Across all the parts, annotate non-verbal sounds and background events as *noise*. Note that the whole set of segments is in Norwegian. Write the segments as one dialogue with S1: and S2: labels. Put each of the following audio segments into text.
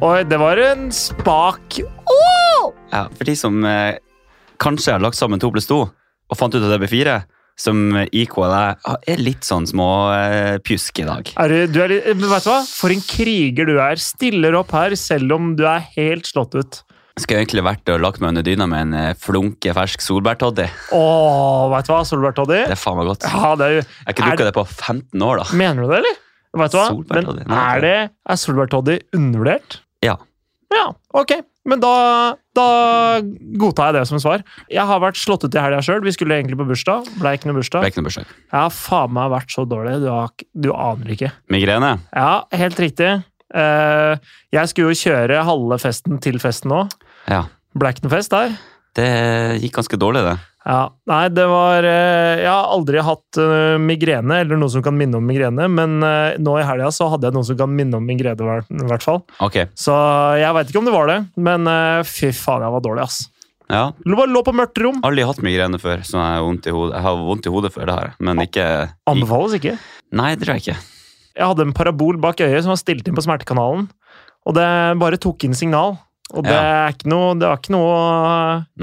S1: Oi, det var en spak.
S2: Ja, for de som eh, kanskje har lagt sammen to pluss to, og fant ut at det blir fire, som IK og deg er litt sånn små eh, pjusk i dag.
S1: Er du, du er litt, men vet du hva? For en kriger du er. Stiller opp her selv om du er helt slått ut.
S2: Skulle egentlig vært og lagt meg under dyna med en eh, flunke fersk solbærtoddy.
S1: Åh, vet du hva, Solbærtoddy?
S2: Det er faen meg godt. Jeg
S1: Ja, det er jo
S2: har ikke
S1: Er-
S2: drukket det på 15 år, da.
S1: Mener du det, eller? Vet du hva?
S2: Solbærtoddy.
S1: Men er, det, er solbærtoddy undervurdert?
S2: Ja.
S1: Ja, ok. Men da, da godtar jeg det som svar. Jeg har vært slått ut i helga sjøl. Vi skulle egentlig på bursdag. Ble ikke noe
S2: Det
S1: bursdag.
S2: er ikke noe bursdag.
S1: Jeg har faen meg vært så dårlig. Du, har, ikke- du aner ikke.
S2: Migrene?
S1: Ja, helt riktig. Eh, jeg skulle jo kjøre halve festen til festen nå.
S2: Ja.
S1: Ble ikke noe fest der.
S2: Det gikk ganske dårlig, det.
S1: Ja, nei, det var eh, Jeg har aldri hatt eh, migrene, eller noe som kan minne om migrene, men eh, nå i helga så hadde jeg noe som kan minne om migrene, i hvert- i hvert fall.
S2: Ok.
S1: Så jeg veit ikke om det var det, men eh, fy faen, jeg var dårlig, ass.
S2: Ja.
S1: Lå, bare lå på mørkt rom.
S2: Aldri hatt migrene før, så jeg har vondt i hodet. Jeg har vondt i hodet før det her, men ikke
S1: Anbefales ikke.
S2: Nei, det tror jeg ikke.
S1: Jeg hadde en parabol bak øyet som var stilt inn på smertekanalen, og det bare tok inn signal. Og det er ikke noe Det var ikke noe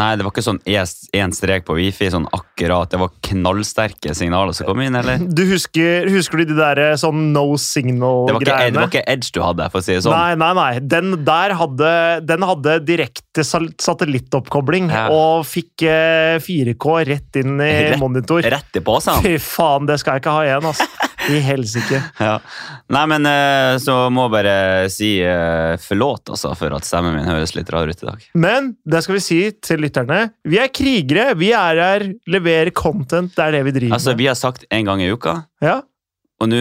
S2: Nei, det var ikke sånn én strek på wifi, sånn akkurat. Det var knallsterke signaler som kom inn,
S1: *laughs*
S2: eller?
S1: Du husker, husker du de der eh, sånn no
S2: Det var, ikke, det
S1: signal-greiene?
S2: var ikke edge du hadde, for å si det sånn.
S1: Nei, nei, nei. Den der hadde, den hadde direkte sal- satellittoppkobling
S2: Ja.
S1: og fikk eh, 4K rett inn i
S2: Rett-
S1: monitor.
S2: Rett i
S1: *laughs*
S2: posen.
S1: Fy faen, det skal jeg ikke ha igjen,
S2: *laughs*
S1: altså. I helsike.
S2: Ja. Nei, men eh, så må jeg bare si eh, forlåt, altså, for at stemmen min høres litt rar ut i dag.
S1: Men det skal vi si til lytterne. Vi er krigere. Vi er her, leverer content. Det er det vi driver
S2: Altså,
S1: med.
S2: vi har sagt én gang i uka,
S1: Ja.
S2: og nå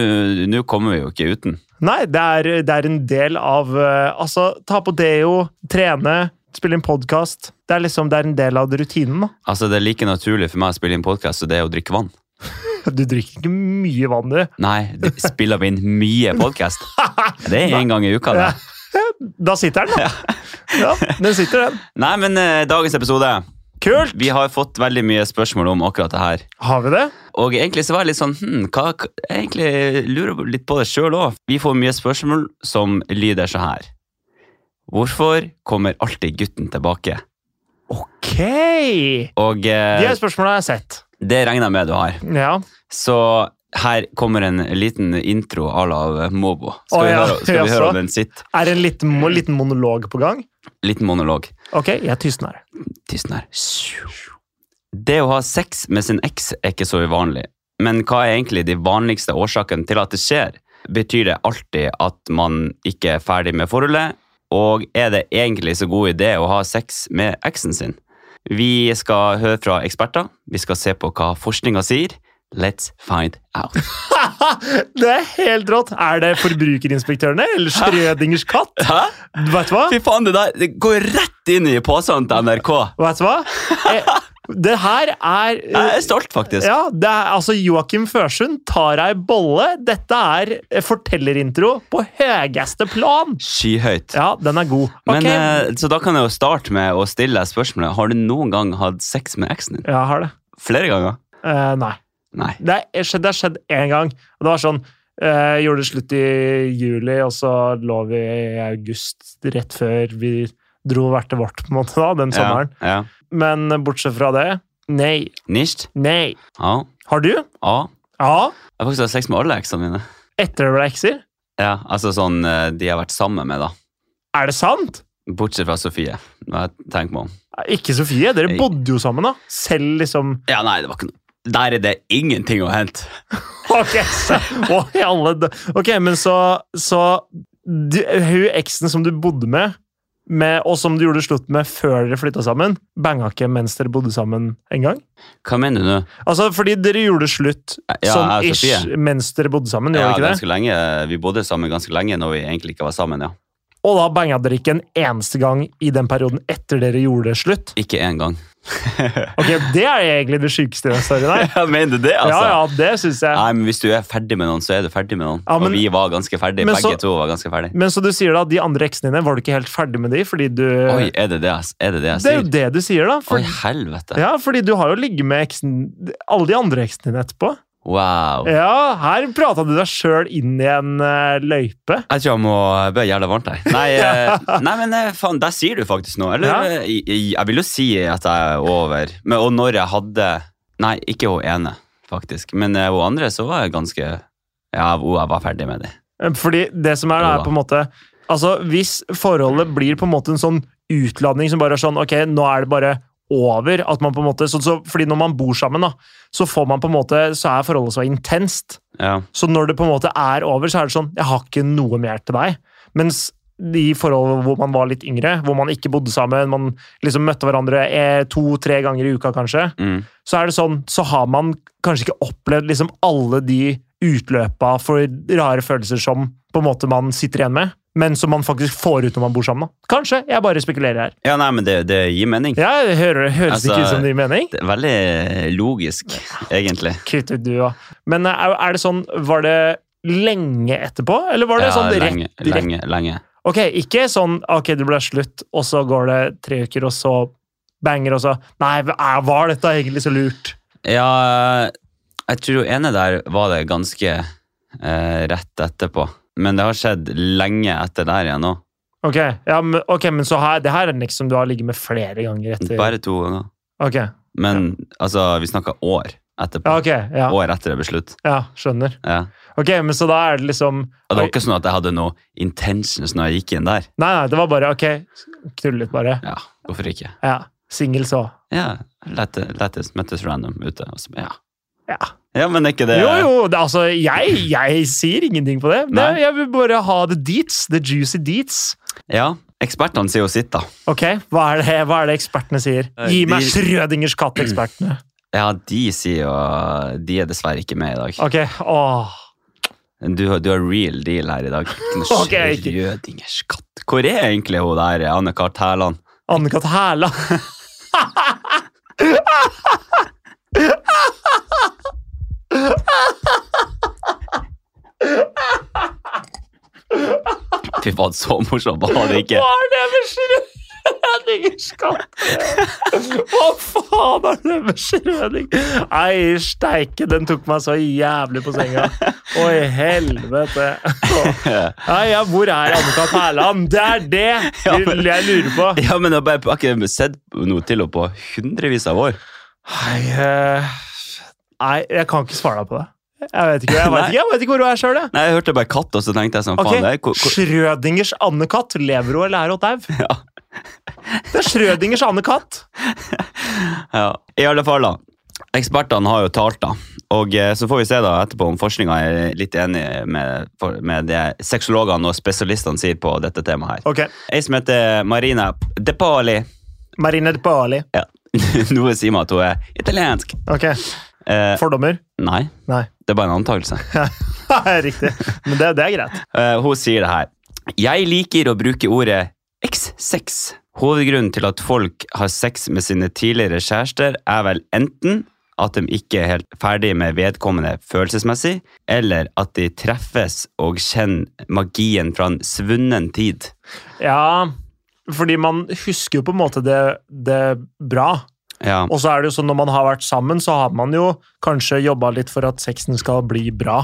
S2: nå kommer vi jo ikke uten.
S1: Nei, det er, det er en del av eh, Altså, ta på deo, trene, spille inn podkast. Det er liksom det er en del av rutinen. da.
S2: Altså, det er like naturlig for meg å spille inn podkast som det er å drikke vann.
S1: Du drikker ikke mye vann, du.
S2: Nei, det spiller vi inn mye podkast? Det er én gang i uka, det.
S1: Da sitter den, da. Ja, den sitter, den.
S2: Nei, men eh, dagens episode
S1: Kult!
S2: Vi har fått veldig mye spørsmål om akkurat det her.
S1: Har vi det?
S2: Og egentlig så var jeg litt sånn hm, hva, hva, Jeg egentlig lurer litt på det sjøl òg. Vi får mye spørsmål som lyder så her. Hvorfor kommer alltid gutten tilbake?
S1: Ok! De
S2: Og eh,
S1: her spørsmålene har jeg sett.
S2: det regner jeg med du har.
S1: Ja.
S2: Så her kommer en liten intro à la Mobo. Skal
S1: Å,
S2: vi,
S1: ja.
S2: høre, skal
S1: *laughs*
S2: vi
S1: Jaså.
S2: høre om den sitter?
S1: Er det en liten, mo- liten monolog på gang?
S2: Liten monolog.
S1: Ok, jeg tysner.
S2: Tissen her. Det å ha sex med sin eks er ikke så uvanlig, men hva er egentlig de vanligste årsakene til at det skjer? Betyr det alltid at man ikke er ferdig med forholdet, og er det egentlig så god idé å ha sex med eksen sin? Vi skal høre fra eksperter, vi skal se på hva forskninga sier. Let's find out.
S1: Det er helt rått! Er det Forbrukerinspektørene eller Schrødingers katt?
S2: *laughs* Hæ?
S1: Vet du hva?
S2: Fy faen, det der det går rett inn i posen til NRK.
S1: Vet du hva? Eh, Det her er eh,
S2: Jeg er stolt, faktisk.
S1: ja, det er, altså Joakim Førsund tar ei bolle. Dette er eh, fortellerintro på høyeste plan!
S2: Skyhøyt.
S1: Ja, den er god. Ok,
S2: Men, eh, så da kan jeg jo starte med å stille deg spørsmålet Har du noen gang hatt sex med eksen din?
S1: ja, jeg har det.
S2: Flere ganger?
S1: Eh, nei.
S2: Nei.
S1: Det har skjedd, det har skjedd én gang. Og det var sånn eh, Gjorde det slutt i juli, og så lå vi i august, rett før vi dro hvert til vårt, på en måte, da, den sommeren.
S2: Ja. ja.
S1: Men bortsett fra det nei.
S2: Nisht?
S1: Nei.
S2: Ja.
S1: Har du?
S2: ja.
S1: Ja.
S2: Jeg har faktisk hatt sex med alle eksene mine.
S1: Etter det ble ekser?
S2: Ja, altså sånn eh, de har vært sammen med, da.
S1: Er det sant?
S2: Bortsett fra Sofie. Når jeg tenker meg om.
S1: Ikke Sofie. Dere
S2: Nei.
S1: bodde jo sammen, da. Selv liksom
S2: Ja, nei, det var ikke noe Der er det ingenting å hente.
S1: Ok, så, å, i alle da- ok, men så, så du, Hun eksen som du bodde med, med, og som du gjorde slutt med før dere flytta sammen, banga ikke mens dere bodde sammen engang?
S2: Hva mener du nå?
S1: Altså, fordi dere gjorde slutt
S2: Ja,
S1: sånn
S2: jeg og
S1: ish
S2: Sofie.
S1: mens dere bodde sammen,
S2: Ja,
S1: gjorde dere ikke det?
S2: ganske lenge. Vi bodde sammen ganske lenge når vi egentlig ikke var sammen. ja.
S1: Og da banga dere ikke en eneste gang i den perioden etter dere gjorde slutt?
S2: Ikke én gang.
S1: Ok, Det er egentlig det sjukeste i den storyen her.
S2: *laughs* Ja, mener du det,
S1: Ja,
S2: altså?
S1: ja, det syns jeg.
S2: Nei, men Hvis du er ferdig med noen, så er du ferdig med noen.
S1: Ja, men-
S2: og vi var ganske ferdig.
S1: Men
S2: Begge
S1: så-
S2: to var ganske ferdig.
S1: Men så du sier da at de andre eksene dine, var du ikke helt ferdig med de fordi du
S2: Oi, er det det, jeg s- er det det
S1: Eh,
S2: jeg
S1: Det er
S2: sier?
S1: jo det du sier, da. For
S2: Oi, helvete.
S1: Ja, fordi du har jo ligget med eksen Alle de andre eksene dine etterpå.
S2: Wow.
S1: Ja, her prata du deg sjøl inn i en eh, løype.
S2: Jeg tror jeg må bli jævla varmt her.
S1: *laughs*
S2: Nei, eh, nei men eh, faen, der sier du faktisk noe. Eller,
S1: Ja.
S2: eh, jeg, jeg vil jo si at jeg er over. Men, og når jeg hadde Nei, ikke hun ene, faktisk. Men eh, hun andre, så var jeg ganske Ja, hun jeg var ferdig med det.
S1: Eh, Fordi det som er, da,
S2: Jo da.
S1: er på en måte Altså, hvis forholdet blir på en måte en sånn utladning som bare er sånn Ok, nå er det bare over. At man på en måte, så, så, fordi når man bor sammen, da, så får man på en måte, så er forholdet så intenst.
S2: Ja.
S1: Så når det på en måte er over, så er det sånn Jeg har ikke noe mer til deg. Mens de forholdene hvor man var litt yngre, hvor man ikke bodde sammen, man liksom møtte hverandre eh, to-tre ganger i uka, kanskje,
S2: Mm.
S1: så er det sånn, så har man kanskje ikke opplevd liksom alle de utløpa for rare følelser som på en måte man sitter igjen med, men som man faktisk får ut når man bor sammen. da. Kanskje. Jeg bare spekulerer her.
S2: ja, nei, men det, det gir mening.
S1: Ja, det hører, høres
S2: Altså,
S1: ikke ut som det gir mening.
S2: Det er veldig logisk, egentlig.
S1: Kutt ut du òg. Men er, er det sånn, var det lenge etterpå, eller var det sånn rett
S2: lenge, lenge, lenge.
S1: Ok, ikke sånn Ok, det ble slutt, og så går det tre uker, og så banger, og så Nei, er- var dette egentlig så lurt?
S2: Ja, jeg tror jo ene der var det ganske eh, rett etterpå. Men det har skjedd lenge etter der igjen òg.
S1: Ok, ja, men, ok, men så her, det her er liksom du har ligget med flere ganger etter
S2: Bare to ganger.
S1: Ok,
S2: Men altså, vi snakka år etterpå.
S1: ja, ok, ja,
S2: År etter det ble slutt.
S1: ja, skjønner.
S2: Ja.
S1: Ok, men så da er det liksom
S2: Og det
S1: Oi.
S2: var ikke sånn at jeg hadde noe intentions når jeg gikk inn der.
S1: Nei, nei, det var bare ok, knull litt bare.
S2: Ja, hvorfor ikke?
S1: Ja, singel så.
S2: Ja, lette- lettest møttes random ute. Og så, ja.
S1: Ja.
S2: ja, men er ikke det
S1: Jo, jo, det, altså, jeg, jeg sier ingenting på det. det.
S2: Nei.
S1: Jeg vil bare ha the deets, the juicy deets.
S2: Ja, ekspertene sier jo sitt, da.
S1: Ok, hva er det, hva er det ekspertene sier?
S2: Eh,
S1: Gi meg
S2: de-
S1: Schrødingers katt, ekspertene.
S2: Ja, de sier jo De er dessverre ikke med i dag.
S1: Ok, åh.
S2: Du, har- du har real deal her
S1: *laughs*
S2: i dag.
S1: Ok, ikke-
S2: Rødingers katt. Hvor er egentlig hun der, Anne Kart Hærland?
S1: Anne-Kat. Hæla.
S2: Fy faen, så morsomt var det ikke.
S1: Hva er det med Schrødingers katt? Hva faen er det med Schrøding? Nei, steike, den tok meg så jævlig på senga. Oi, helvete. Nei, ja, hvor er Annika Perland? Det er det vi- jeg lurer på.
S2: Ja, men jeg har bare- jeg har ikke sett noe til henne på hundrevis av år.
S1: Nei, eh, nei, jeg kan ikke svare deg på det. Jeg vet ikke, jeg vet
S2: Nei.
S1: ikke, jeg vet ikke hvor hun er sjøl, jeg.
S2: Nei, Jeg hørte bare katt, og så tenkte jeg sånn,
S1: Ok,
S2: faen, det er, hvor, hvor,
S1: Schrødingers andekatt. Lever hun eller er hun dau?
S2: Ja.
S1: Det er Schrødingers andekatt.
S2: ja. I alle fall, da. Ekspertene har jo talt, da. Og eh, så får vi se da etterpå om forskninga er litt enig med, for- med det sexologene og spesialistene sier på dette temaet her.
S1: Ok,
S2: Ei som heter Marina Depali. *laughs*
S1: Marine de Paoli.
S2: Ja. Noe sier meg at hun er italiensk.
S1: Ok,
S2: Eh,
S1: Fordommer?
S2: nei,
S1: Nei. *laughs*
S2: det er bare en antakelse.
S1: Riktig. Men det, det er greit.
S2: Eh, hun sier det her. Jeg liker å bruke ordet X6. Hovedgrunnen til at folk har sex med sine tidligere kjærester, er vel enten at de ikke er helt ferdig med vedkommende følelsesmessig, eller at de treffes og kjenner magien fra en svunnen tid.
S1: Ja, fordi man husker jo på en måte det, det bra.
S2: Ja,
S1: Og så er det jo sånn når man har vært sammen, så har man jo kanskje jobba litt for at sexen skal bli bra.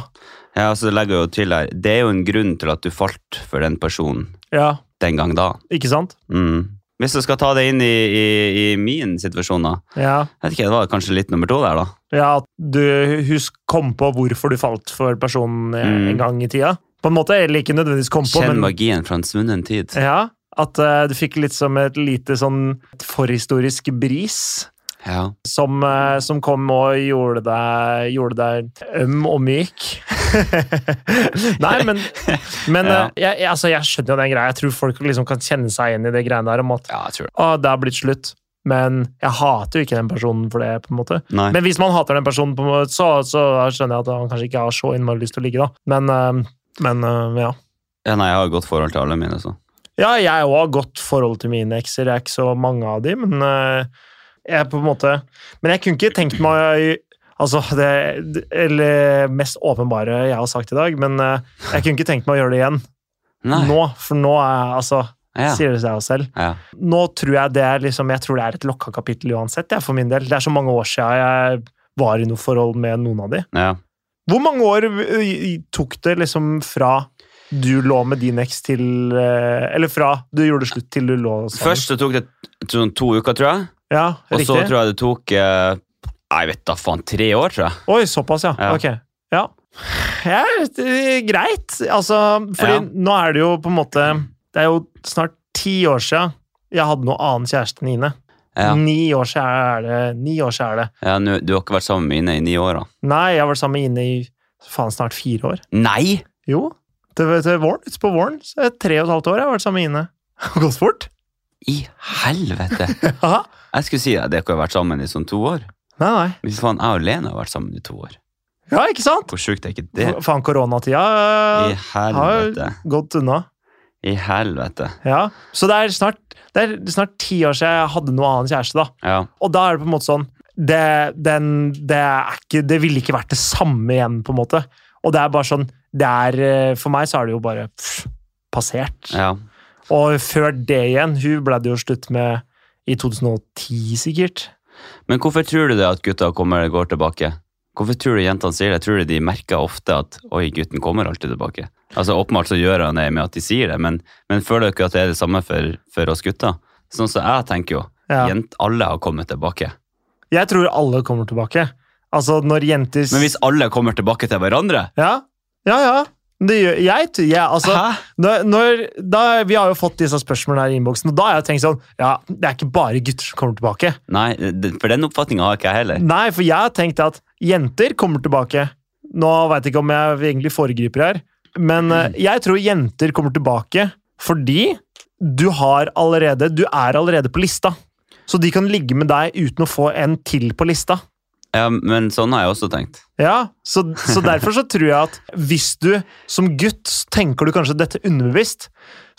S2: ja og så legger jeg jo til her. Det er jo en grunn til at du falt for den personen
S1: Ja,
S2: den gang da.
S1: ikke sant?
S2: Mm. Hvis du skal ta det inn i, i, i min situasjon, da.
S1: Ja.
S2: Jeg vet ikke, Det var kanskje litt nummer to der, da.
S1: Ja, at du husk, kom på hvorfor du falt for personen eh,
S2: Mm.
S1: en gang i tida. På en måte, eller ikke nødvendigvis kom på,
S2: Kjenn
S1: men
S2: magien fra en svunnen tid.
S1: ja, at eh, du fikk litt som et lite sånn forhistorisk bris.
S2: Ja.
S1: Som, eh, som kom og gjorde deg, gjorde deg øm og myk. *laughs* Nei, men, men
S2: *laughs* Ja.
S1: eh, jeg, jeg- altså, jeg skjønner jo den greia. Jeg tror folk liksom kan kjenne seg igjen i det greiene der om at
S2: ja, jeg tror det.
S1: å, det har blitt slutt. Men jeg hater jo ikke den personen for det. på en måte.
S2: Nei.
S1: Men hvis man hater den personen, på en måte, så, så skjønner jeg at han kanskje ikke har så innmari lyst til å ligge. da. Men, eh, men eh, ja.
S2: ja, nei, jeg har et godt forhold til alle mine. Så.
S1: Ja, jeg òg har godt forhold til mine ekser. Jeg er ikke så mange av de, men eh, jeg på en måte Men jeg kunne ikke tenkt meg Altså, det Eller mest åpenbare jeg har sagt i dag, men eh, jeg kunne ikke tenkt meg å gjøre det igjen
S2: Nei.
S1: nå, for nå er Altså,
S2: ja.
S1: sier det seg jo selv.
S2: Ja.
S1: Nå tror jeg det er liksom Jeg tror det er et lokka kapittel uansett, jeg, for min del. Det er så mange år siden jeg var i noe forhold med noen av de.
S2: Ja.
S1: Hvor mange år eh, tok det liksom fra du lå med din eks til eh, Eller fra du gjorde det slutt til du lå sammen?
S2: Først så tok det sånn to uker, tror jeg.
S1: Ja,
S2: Og
S1: riktig.
S2: så tror jeg det tok eh, Jeg vet da faen, tre år, tror jeg.
S1: Oi, såpass, ja.
S2: Ja.
S1: Ok. Ja. ja det- greit. Altså, fordi
S2: Ja.
S1: nå er det jo på en måte Det er jo snart ti år siden jeg hadde noe annen kjæreste enn Ine.
S2: Ja,
S1: Ni år siden er det. Ni år siden er det.
S2: ja nå- Du har ikke vært sammen med Ine i ni år, da?
S1: Nei, jeg har vært sammen med Ine i faen snart fire år.
S2: Nei!
S1: Jo, til, til våren. Utpå våren. Så er det tre og et halvt år jeg har vært sammen med Ine. *laughs* Det har Gått fort.
S2: I helvete!
S1: Haha.
S2: Jeg skulle si at dere har vært sammen i sånn to år.
S1: Nei, nei.
S2: Men faen, jeg og Lene har vært sammen i to år.
S1: Ja, ikke sant?
S2: Hvor sjukt er ikke det?
S1: F- Faen, koronatida
S2: I
S1: øh,
S2: helvete.
S1: gått unna.
S2: I helvete.
S1: Ja. Så det er snart det er snart ti år siden jeg hadde noe annen kjæreste. da.
S2: Ja.
S1: Og da er det på en måte sånn Det, den, det, er ikke, det ville ikke vært det samme igjen, på en måte. Og det er bare sånn det er, eh, For meg så er det jo bare pff, passert.
S2: ja.
S1: Og før det igjen Hun ble det jo slutt med i 2010, sikkert.
S2: Men hvorfor tror du det at gutta kommer går tilbake? Hvorfor tror du jentene sier det? Tror du de merker ofte at oi, gutten kommer alltid tilbake? Altså Åpenbart så gjør han det med at de sier det, men, men føler dere at det er det samme for, for oss gutta? Sånn som jeg tenker jo.
S1: Ja.
S2: Jent, alle har kommet tilbake.
S1: Jeg tror alle kommer tilbake. Altså, når jenter s-
S2: Men hvis alle kommer tilbake til hverandre
S1: Ja, ja. ja. Det gjør jeg. t- jeg altså,
S2: Hæ?
S1: når, når, da, vi har jo fått disse spørsmålene her i innboksen, og da har jeg tenkt sånn Ja, det er ikke bare gutter som kommer tilbake.
S2: Nei, det- for den oppfatninga har ikke jeg heller.
S1: Nei, for jeg har tenkt at jenter kommer tilbake. Nå veit jeg ikke om jeg egentlig foregriper her, men eh, jeg tror jenter kommer tilbake fordi du har allerede Du er allerede på lista. Så de kan ligge med deg uten å få en til på lista.
S2: Ja, men sånn har jeg også tenkt.
S1: Ja, så, så derfor så tror jeg at hvis du som gutt så tenker du kanskje dette underbevisst,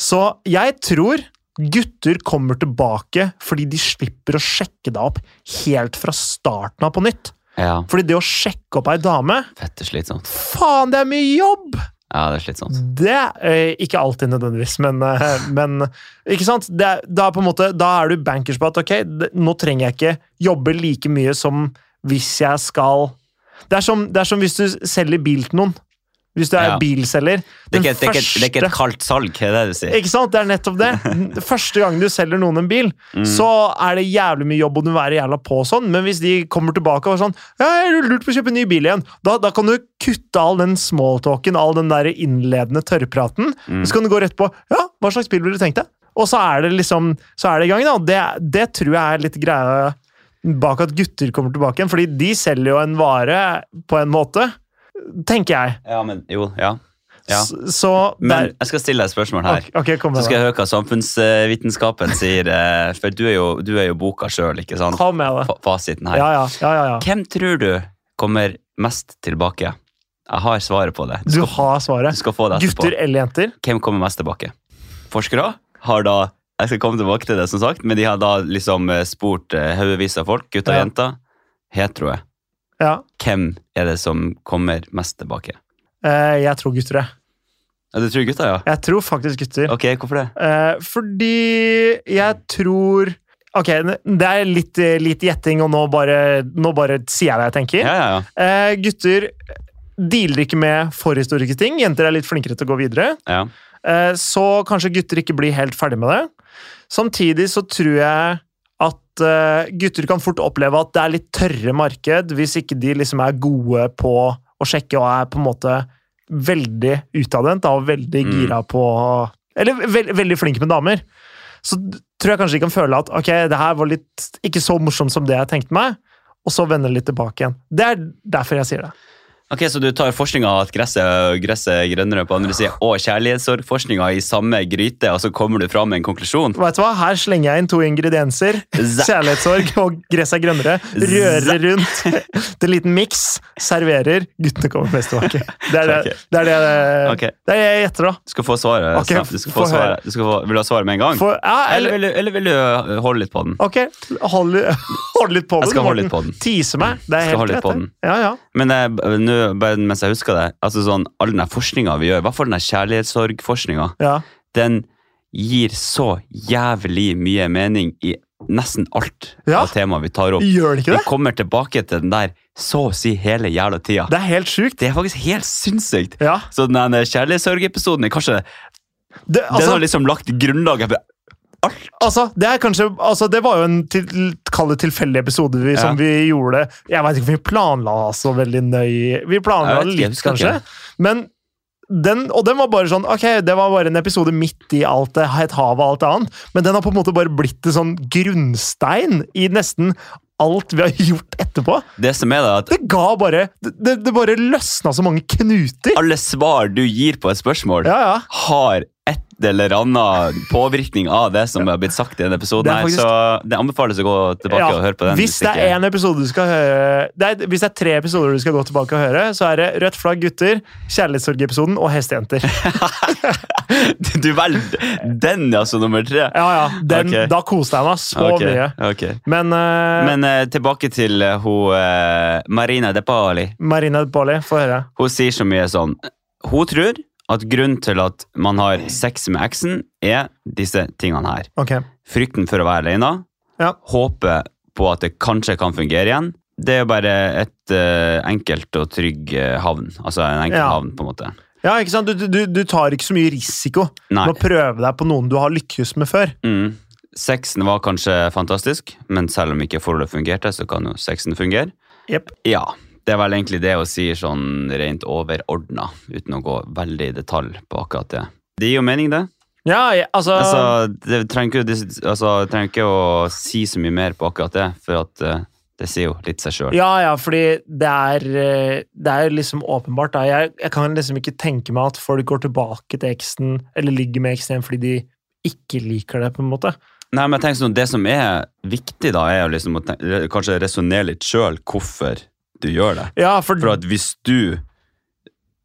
S1: så jeg tror gutter kommer tilbake fordi de slipper å sjekke deg opp helt fra starten av på nytt.
S2: Ja,
S1: Fordi det å sjekke opp ei dame
S2: fette slitsomt.
S1: Faen, det er mye jobb!
S2: Ja, det er slitsomt.
S1: Det eh, Ikke alltid nødvendigvis, men, eh, *laughs* men Ikke sant? Det, er- da, er på en måte, da er du bankers på at ok, det, nå trenger jeg ikke jobbe like mye som hvis jeg skal Det er som, det er som hvis du selger bil til noen. Hvis du er
S2: Ja.
S1: bilselger.
S2: Det er,
S1: Den
S2: ikke, det, er ikke, det er ikke et
S1: første-
S2: kaldt salg, er det det du sier?
S1: ikke sant? Det er nettopp det. Den Første gang du selger noen en bil, så er det jævlig mye jobb, og du må være jævla på og sånn, men hvis de kommer tilbake og er sånn «Ja, 'Jeg har lurt på å kjøpe en ny bil igjen', da, da kan du kutte all den smalltalken, all den der innledende tørrpraten,
S2: Mm.
S1: så kan du gå rett på 'Ja, hva slags bil ville du tenkt deg?' Og så er det liksom, så er det i gang, da. Det, det tror jeg er litt greia bak at gutter kommer tilbake igjen, fordi de selger jo en vare på en måte, tenker jeg.
S2: Ja, men jo, ja. ja.
S1: S- Så
S2: Men
S1: der
S2: jeg skal stille deg et spørsmål her.
S1: Ok, ok, kom
S2: Så
S1: med
S2: skal
S1: det.
S2: jeg høre hva samfunnsvitenskapen sier, eh, for du er jo, du er jo boka sjøl, ikke sant?
S1: Kom med det.
S2: Fa- Fasiten her.
S1: Ja, ja, ja, ja, ja.
S2: Hvem tror du kommer mest tilbake? Jeg har svaret på det.
S1: Du
S2: skal,
S1: har svaret.
S2: du skal få det etterpå.
S1: Gutter eller jenter?
S2: Hvem kommer mest tilbake? Forskere har da Jeg skal komme tilbake til det, som sagt, men de har da liksom eh, spurt eh, haugevis av folk, gutter og
S1: Ja.
S2: jenter, heteroe.
S1: Ja.
S2: Hvem er det som kommer mest tilbake?
S1: Eh, Jeg tror gutter, jeg.
S2: Ja, du tror gutter, ja?
S1: Jeg tror faktisk gutter.
S2: Ok, hvorfor det?
S1: Eh, Fordi jeg tror Ok, det er litt, eh, litt gjetting, og nå bare, nå bare sier jeg det jeg tenker.
S2: Ja, ja, ja.
S1: Eh, Gutter dealer ikke med forhistoriske ting. Jenter er litt flinkere til å gå videre.
S2: ja.
S1: Eh, Så kanskje gutter ikke blir helt ferdig med det. Samtidig så tror jeg at eh, gutter kan fort oppleve at det er litt tørre marked hvis ikke de liksom er gode på å sjekke og er på en måte veldig utadvendt da, og veldig
S2: Mm.
S1: gira på Eller veld, veldig flink med damer. Så d- tror jeg kanskje de kan føle at ok, det her var litt ikke så morsomt som det jeg tenkte meg, og så vende litt tilbake igjen. Det er derfor jeg sier det.
S2: Ok, Så du tar forskninga at gresset, gresset er grønnere på andre sida, og kjærlighetssorgforskninga i samme gryte, og så kommer du fram med en konklusjon?
S1: Vet du hva? Her slenger jeg inn to ingredienser.
S2: Zæ.
S1: Kjærlighetssorg og gress er grønnere. Rører rundt *laughs* til en liten miks. Serverer. Guttene kommer mest tilbake. Det er det, det, er det,
S2: Ok.
S1: det, er det jeg gjetter, da.
S2: Du skal få svaret.
S1: Ok,
S2: snart. du skal få
S1: få høre.
S2: svaret. Du skal få, vil du ha svaret med en gang?
S1: For, ja, eller,
S2: eller, vil du, eller vil du holde litt på den?
S1: ok, hold, *laughs* hold litt på den.
S2: Jeg skal holde
S1: Morten.
S2: litt på den.
S1: Tise meg. Det er
S2: Skal
S1: helt
S2: holde litt
S1: greit.
S2: på
S1: det. Ja, ja.
S2: Men eh, b- nå, bare mens jeg husker det, altså sånn, all den forskninga vi gjør, i hvert fall den her kjærlighetssorgforskninga,
S1: ja.
S2: den gir så jævlig mye mening i nesten alt
S1: Ja.
S2: av temaer vi tar opp.
S1: Gjør det ikke
S2: Vi
S1: det?
S2: kommer tilbake til den der så å si hele jævla tida.
S1: Det er helt sjukt.
S2: Det er faktisk helt sinnssykt.
S1: Ja.
S2: Så den der kjærlighetssorgepisoden er kanskje
S1: Det,
S2: Den
S1: altså,
S2: har liksom lagt grunnlaget for
S1: altså, det er kanskje altså, Det var jo en til, kall det tilfeldig episode vi, som vi gjorde. Jeg veit ikke om vi planla så veldig nøye. Vi planla
S2: Jeg vet ikke, jeg
S1: litt,
S2: husker
S1: kanskje.
S2: ikke.
S1: Men den, og den var bare sånn Ok, det var bare en episode midt i alt det et hav og alt det annet, men den har på en måte bare blitt en sånn grunnstein i nesten alt vi har *laughs* gjort etterpå.
S2: det som er det, at
S1: Det ga bare Det, det, det bare løsna så mange knuter.
S2: alle svar du gir på et spørsmål,
S1: Ja, ja.
S2: har et eller annet påvirkning av det som har blitt sagt i denne episoden.
S1: Det er
S2: her,
S1: faktisk-
S2: så det anbefales å gå tilbake og høre på den.
S1: Hvis det er
S2: ikke-
S1: en episode du skal høre nei, Hvis det er tre episoder du skal gå tilbake og høre, så er det Rødt flagg gutter, Kjærlighetssorgepisoden og Hestejenter.
S2: *laughs* Du velger den, ja, som nummer tre?
S1: Ja, ja, den,
S2: Ok.
S1: Da koste jeg meg så
S2: Ok,
S1: mye.
S2: ok.
S1: Men, eh,
S2: Men eh, tilbake til eh, hun eh, Marina Depali.
S1: Marina Bali, få høre.
S2: Hun sier så mye sånn Hun tror at grunnen til at man har sex med eksen, er disse tingene her.
S1: Ok.
S2: Frykten for å være alene.
S1: Ja.
S2: Håpet på at det kanskje kan fungere igjen. Det er jo bare et eh, enkelt og trygg eh, havn. Altså en enkel
S1: Ja.
S2: havn, på en måte.
S1: Ja, ikke sant? Du, du, du tar ikke så mye risiko
S2: Nei.
S1: med å prøve deg på noen du har lykkes med før.
S2: Mm. Sexen var kanskje fantastisk, men selv om ikke forholdet fungerte, så kan jo sexen fungere.
S1: Jep.
S2: Ja, det er vel egentlig det hun sier sånn rent overordna, uten å gå veldig i detalj på akkurat det. Det gir jo mening, det.
S1: Ja, jeg- altså,
S2: Altså, det trenger ikke, dis- altså, trenger ikke å si så mye mer på akkurat det, for at eh, det sier jo litt seg sjøl.
S1: ja, ja, fordi det er, eh, det er liksom åpenbart. Da. Jeg, jeg kan liksom ikke tenke meg at folk går tilbake til eksen, eller ligger med eksen igjen fordi de ikke liker det, på en måte.
S2: Nei, men jeg tenker sånn, Det som er viktig, da, er jo liksom å tenke, re- kanskje resonnere litt sjøl hvorfor du gjør det.
S1: Ja, for,
S2: For at hvis du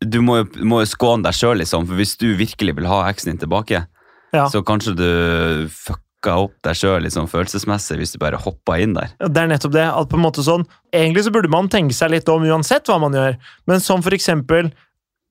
S2: Du må jo, må jo skåne deg sjøl, liksom. For hvis du virkelig vil ha eksen din tilbake,
S1: Ja.
S2: så kanskje du fucka opp deg sjøl liksom, følelsesmessig hvis du bare hoppa inn der.
S1: det er nettopp det. at på en måte sånn, Egentlig så burde man tenke seg litt om uansett hva man gjør, men som for eksempel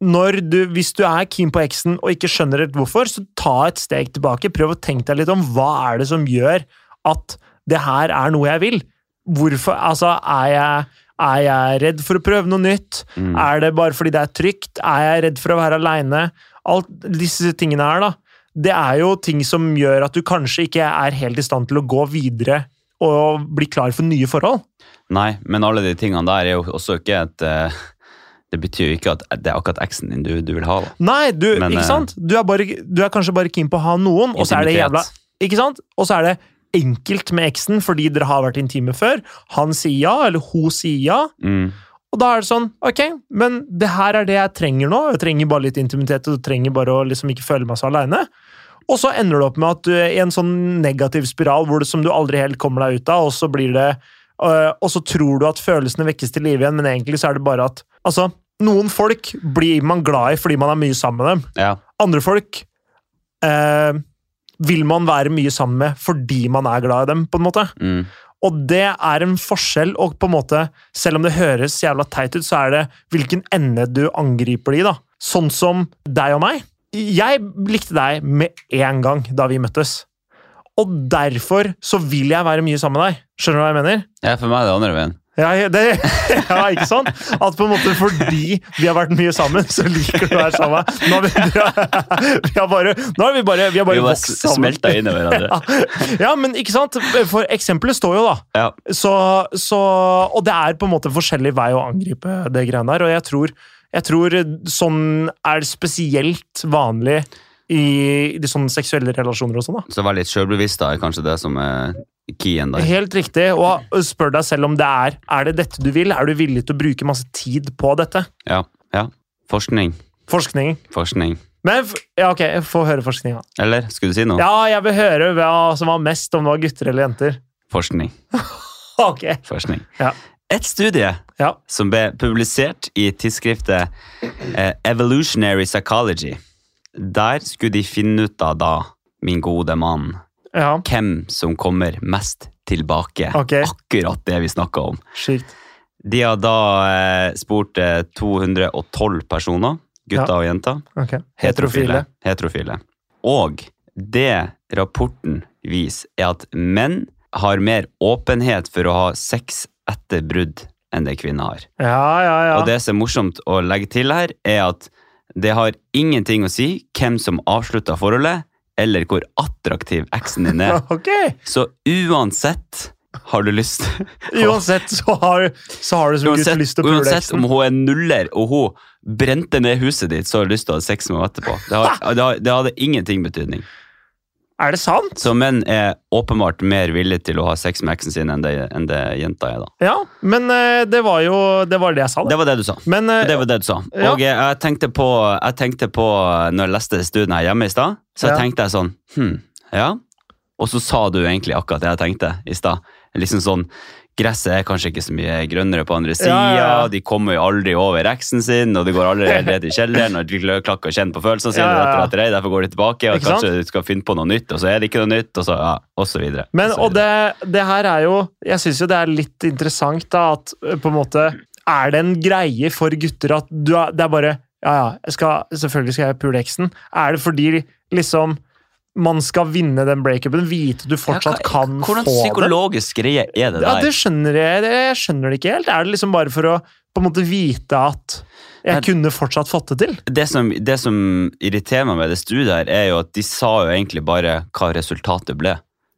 S1: når du, hvis du er keen på eksen og ikke skjønner helt hvorfor, så ta et steg tilbake. Prøv å tenke deg litt om hva er det som gjør at det her er noe jeg vil. Hvorfor, altså, er jeg, er jeg redd for å prøve noe nytt?
S2: Mm.
S1: Er det bare fordi det er trygt? Er jeg redd for å være aleine? Alt disse tingene her, da. Det er jo ting som gjør at du kanskje ikke er helt i stand til å gå videre og bli klar for nye forhold.
S2: Nei, men alle de tingene der er jo også ikke et eh, Det betyr jo ikke at det er akkurat eksen din du, du vil ha. da.
S1: Nei, du,
S2: Men, eh,
S1: ikke sant? Du er, bare, du er kanskje bare keen på å ha noen, og så er det
S2: Intimitet.
S1: jævla Ikke sant? Og så er det enkelt med eksen fordi dere har vært intime før. Han sier ja, eller hun sier ja.
S2: Mm.
S1: Og da er det sånn, ok, men det her er det jeg trenger nå. Jeg trenger bare litt intimitet, og jeg trenger bare å liksom ikke føle meg så aleine. Og så ender du opp med at du er i en sånn negativ spiral hvor det, som du aldri helt kommer deg ut av, og så blir det øh, Og så tror du at følelsene vekkes til live igjen, men egentlig så er det bare at Altså, noen folk blir man glad i fordi man er mye sammen med dem.
S2: Ja.
S1: Andre folk øh, vil man være mye sammen med fordi man er glad i dem, på en måte.
S2: Mm.
S1: Og det er en forskjell, og på en måte, selv om det høres jævla teit ut, så er det hvilken ende du angriper det i, da. Sånn som deg og meg. Jeg likte deg med en gang da vi møttes. Og derfor så vil jeg være mye sammen med deg. Skjønner du hva jeg mener?
S2: ja, for meg er det andre veien.
S1: Ja, det, *laughs* ja, ikke sant? At på en måte fordi vi har vært mye sammen, så liker du å være sammen. med meg. Nå har *laughs* vi, vi har bare, nå har vi bare, vi har
S2: Vi
S1: bare
S2: var
S1: vokst sammen.
S2: smelta inn i hverandre.
S1: *laughs* Ja, men ikke sant? For eksempelet står jo, da.
S2: Ja.
S1: Så, så, og det er på en måte forskjellig vei å angripe det greiene der, og jeg tror, jeg tror sånn er det spesielt vanlig i de sånne seksuelle relasjoner og sånn, da.
S2: Så vær litt sjølbevisst, da, er kanskje det som er keyen der.
S1: Helt riktig, og spør deg selv om det er Er det dette du vil. Er du villig til å bruke masse tid på dette?
S2: Ja. ja. Forskning.
S1: Forskning.
S2: Forskning.
S1: Men f- ja, ok, få høre forskninga.
S2: Eller skulle du si noe?
S1: Ja, jeg vil høre hva som var mest, om det var gutter eller jenter. *laughs*
S2: Forskning.
S1: Ok.
S2: Forskning.
S1: Ja.
S2: Et studie
S1: Ja.
S2: som ble publisert i tidsskriftet eh, Evolutionary Psychology. Der skulle de finne ut av, da, min gode mann
S1: ja.
S2: hvem som kommer mest tilbake.
S1: Ok.
S2: Akkurat det vi snakka om.
S1: Sjukt.
S2: De har da eh, spurt eh, 212 personer, gutter og jenter.
S1: Ok. Heterofile.
S2: Heterofile. Og det rapporten viser, er at menn har mer åpenhet for å ha sex etter brudd enn det kvinner har.
S1: Ja, ja, ja.
S2: Og det som er morsomt å legge til her, er at det har ingenting å si hvem som avslutta forholdet, eller hvor attraktiv
S1: *laughs*
S2: eksen din er.
S1: Ok!
S2: Så uansett har
S1: *laughs*
S2: du lyst
S1: Uansett så har, så har du som gutt lyst
S2: Uansett,
S1: til å pule
S2: uansett om
S1: eksen.
S2: hun er nuller og hun brente ned huset ditt, så har du lyst til å ha sex med henne etterpå. Det, har, det, har, det hadde ingenting betydning.
S1: Er det sant?
S2: Så menn er åpenbart mer villige til å ha sex med eksen sin enn det, enn det jenta er. da.
S1: Ja, men eh, det var jo det var det jeg sa, da.
S2: Det var det du sa.
S1: Men eh,
S2: Det var det du sa.
S1: Ja.
S2: Og jeg, jeg, tenkte på, jeg tenkte på, eh, når jeg leste studien her hjemme i stad, så
S1: Ja.
S2: tenkte jeg sånn Hm, ja. Og så sa du egentlig akkurat det jeg tenkte i stad. Liksom sånn Gresset er kanskje ikke så mye grønnere på andre sida,
S1: Ja, ja, ja.
S2: de kommer jo aldri over eksen sin, og det går aldri helt ned i kjelleren, og de klakker og kjenner på følelsene sine,
S1: Ja, ja, ja.
S2: og etter, etter, derfor går de tilbake, og
S1: Ikke sant?
S2: kanskje du skal finne på noe nytt, og så er det ikke noe nytt, og så ja, og så videre.
S1: Men,
S2: så
S1: og
S2: videre.
S1: det, det her er jo Jeg syns jo det er litt interessant, da, at eh, på en måte Er det en greie for gutter at du er, det er bare Ja, ja, jeg skal, selvfølgelig skal jeg pule eksen. Er det fordi liksom man skal vinne den breakupen, vite du fortsatt
S2: Ja, hva-
S1: kan få
S2: Hvordan
S1: den?
S2: psykologisk greie er det der?
S1: Ja, det skjønner jeg. Det, jeg skjønner det ikke helt. Er det liksom bare for å på en måte vite at jeg
S2: Men-
S1: kunne fortsatt fått det til?
S2: det som, det som irriterer meg med det studiet her, er jo at de sa jo egentlig bare hva resultatet ble.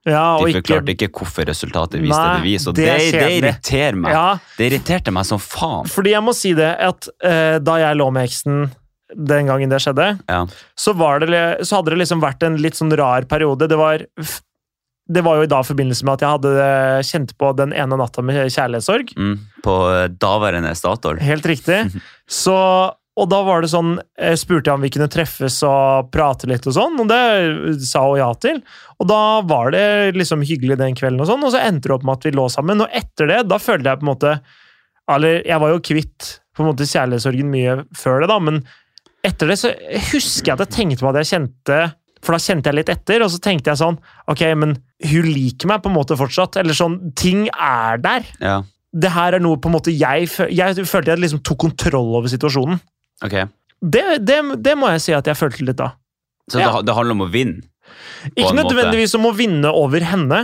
S1: Ja,
S2: De
S1: og ikke
S2: forklarte ikke hvorfor resultatet viste
S1: Nei,
S2: det det viste, og
S1: det
S2: det,
S1: er
S2: det,
S1: kjedelig.
S2: irriterer meg.
S1: Ja,
S2: Det irriterte meg som faen.
S1: fordi jeg må si det at eh, da jeg lå med eksen den gangen det skjedde,
S2: Ja.
S1: så, var det, så hadde det liksom vært en litt sånn rar periode. Det var, det var jo i dag i forbindelse med at jeg hadde eh, kjent på den ene natta med kjærlighetssorg.
S2: Mm. På eh, daværende Statoil.
S1: Helt riktig. Så, og da var det sånn, jeg spurte jeg om vi kunne treffes og prate litt og sånn, og det sa hun ja til. Og da var det liksom hyggelig den kvelden og sånn, og så endte det opp med at vi lå sammen. Og etter det, da følte jeg på en måte, eller jeg var jo kvitt på en måte kjærlighetssorgen mye før det da, men etter det så husker jeg at jeg tenkte på at jeg kjente, for da kjente jeg litt etter, og så tenkte jeg sånn, ok, men hun liker meg på en måte fortsatt, eller sånn, ting er der
S2: Ja,
S1: det her er noe på en måte jeg, fø- jeg følte jeg liksom tok kontroll over situasjonen.
S2: ok.
S1: Det, det, det må jeg si at jeg følte litt da.
S2: Så
S1: Ja.
S2: det, det handler om å vinne.
S1: Ikke
S2: en måte.
S1: nødvendigvis om å vinne over henne,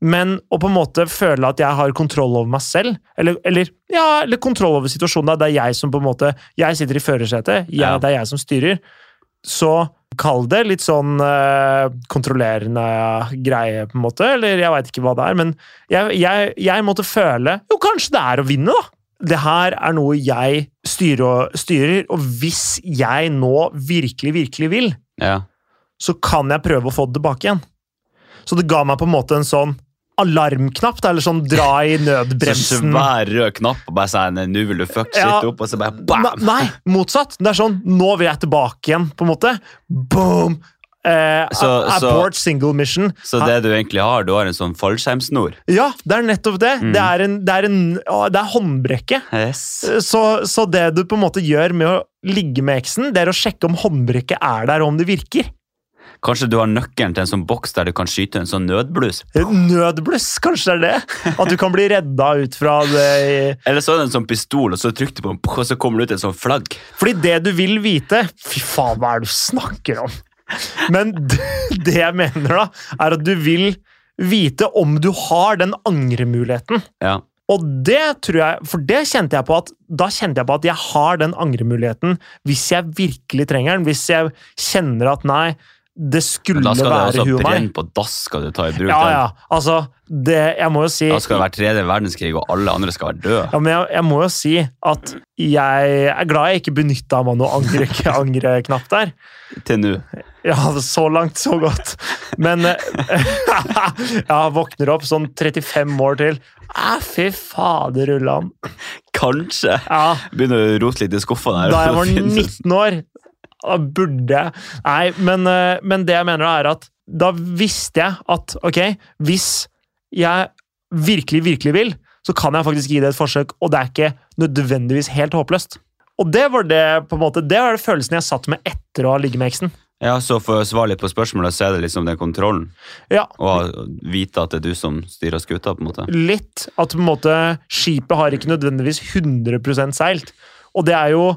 S1: men å på en måte føle at jeg har kontroll over meg selv. Eller, eller, ja, eller kontroll over situasjonen. da. Det er jeg som på en måte Jeg sitter i førersetet, jeg-
S2: Ja.
S1: det er jeg som styrer. Så kall det litt sånn eh, kontrollerende greie, på en måte. Eller jeg veit ikke hva det er, men jeg, jeg, jeg måtte føle Jo, kanskje det er å vinne, da! Det her er noe jeg styrer og, styrer, og hvis jeg nå virkelig, virkelig vil,
S2: Ja.
S1: så kan jeg prøve å få det tilbake igjen. Så det ga meg på en måte en sånn alarmknapp, da, eller sånn dra i
S2: *laughs* Så
S1: nødbremsen.
S2: svær rød knapp, og bare sånn Nå vil du fuck shit
S1: Ja.
S2: opp, og så bare
S1: Ne-
S2: bam!
S1: Nei, motsatt. Det er sånn Nå vil jeg tilbake igjen, på en måte. Boom! Eh,
S2: Så-
S1: a-
S2: så-
S1: abort single mission.
S2: Så det du egentlig har, du har en sånn fallskjermsnor.
S1: Ja, det er nettopp det.
S2: Mm.
S1: Det, er en, det, er en, å, det er håndbrekket. Eh,
S2: Yes.
S1: Så, så det du på en måte gjør med å ligge med eksen, det er å sjekke om håndbrekket er der, og om det virker.
S2: Kanskje du har nøkkelen til en sånn boks der du kan skyte en sånn nødbluss?
S1: Nødbluss, kanskje det er det? At du kan bli redda ut fra det i
S2: Eller så er det en sånn pistol, og så trykker du på den, og så kommer det ut et sånt flagg.
S1: Fordi det du vil vite Fy faen, hva er det du snakker om? Men *laughs* d- det jeg mener, da, er at du vil vite om du har den angremuligheten.
S2: Ja.
S1: Og det tror jeg For det kjente jeg på at da kjente jeg på at jeg har den angremuligheten hvis jeg virkelig trenger den. Hvis jeg kjenner at nei, det
S2: Men
S1: skulle
S2: da skal du
S1: være
S2: også
S1: hun og meg.
S2: brenne på dass, skal du ta i bruk
S1: Ja,
S2: den.
S1: ja. Altså, det Jeg må jo si
S2: Da skal det være tredje verdenskrig, og alle andre skal være døde.
S1: ja, men jeg, jeg må jo si at jeg er glad jeg ikke benytta meg av noe angre- *laughs* angreknapp der.
S2: Til nå.
S1: Ja, så langt, så godt. Men eh, *laughs* Ja, våkner opp sånn 35 år til. Æ, fy fader, Ulland.
S2: Kanskje.
S1: Ja,
S2: Begynner å rote litt i skuffa der.
S1: da jeg
S2: og
S1: var
S2: *laughs* finne-
S1: 19 år, da burde jeg Nei, men, eh, men det jeg mener, da, er at da visste jeg at ok, hvis jeg virkelig, virkelig vil, så kan jeg faktisk gi det et forsøk, og det er ikke nødvendigvis helt håpløst. Og det var det på en måte, det var det følelsen jeg satt med etter å ha ligget med eksen.
S2: Ja, så for å svare litt på spørsmålet, så er det liksom den kontrollen.
S1: Ja,
S2: Og vite at det er du som styrer skuta, på en måte.
S1: litt at på en måte skipet har ikke nødvendigvis 100 seilt. Og det er jo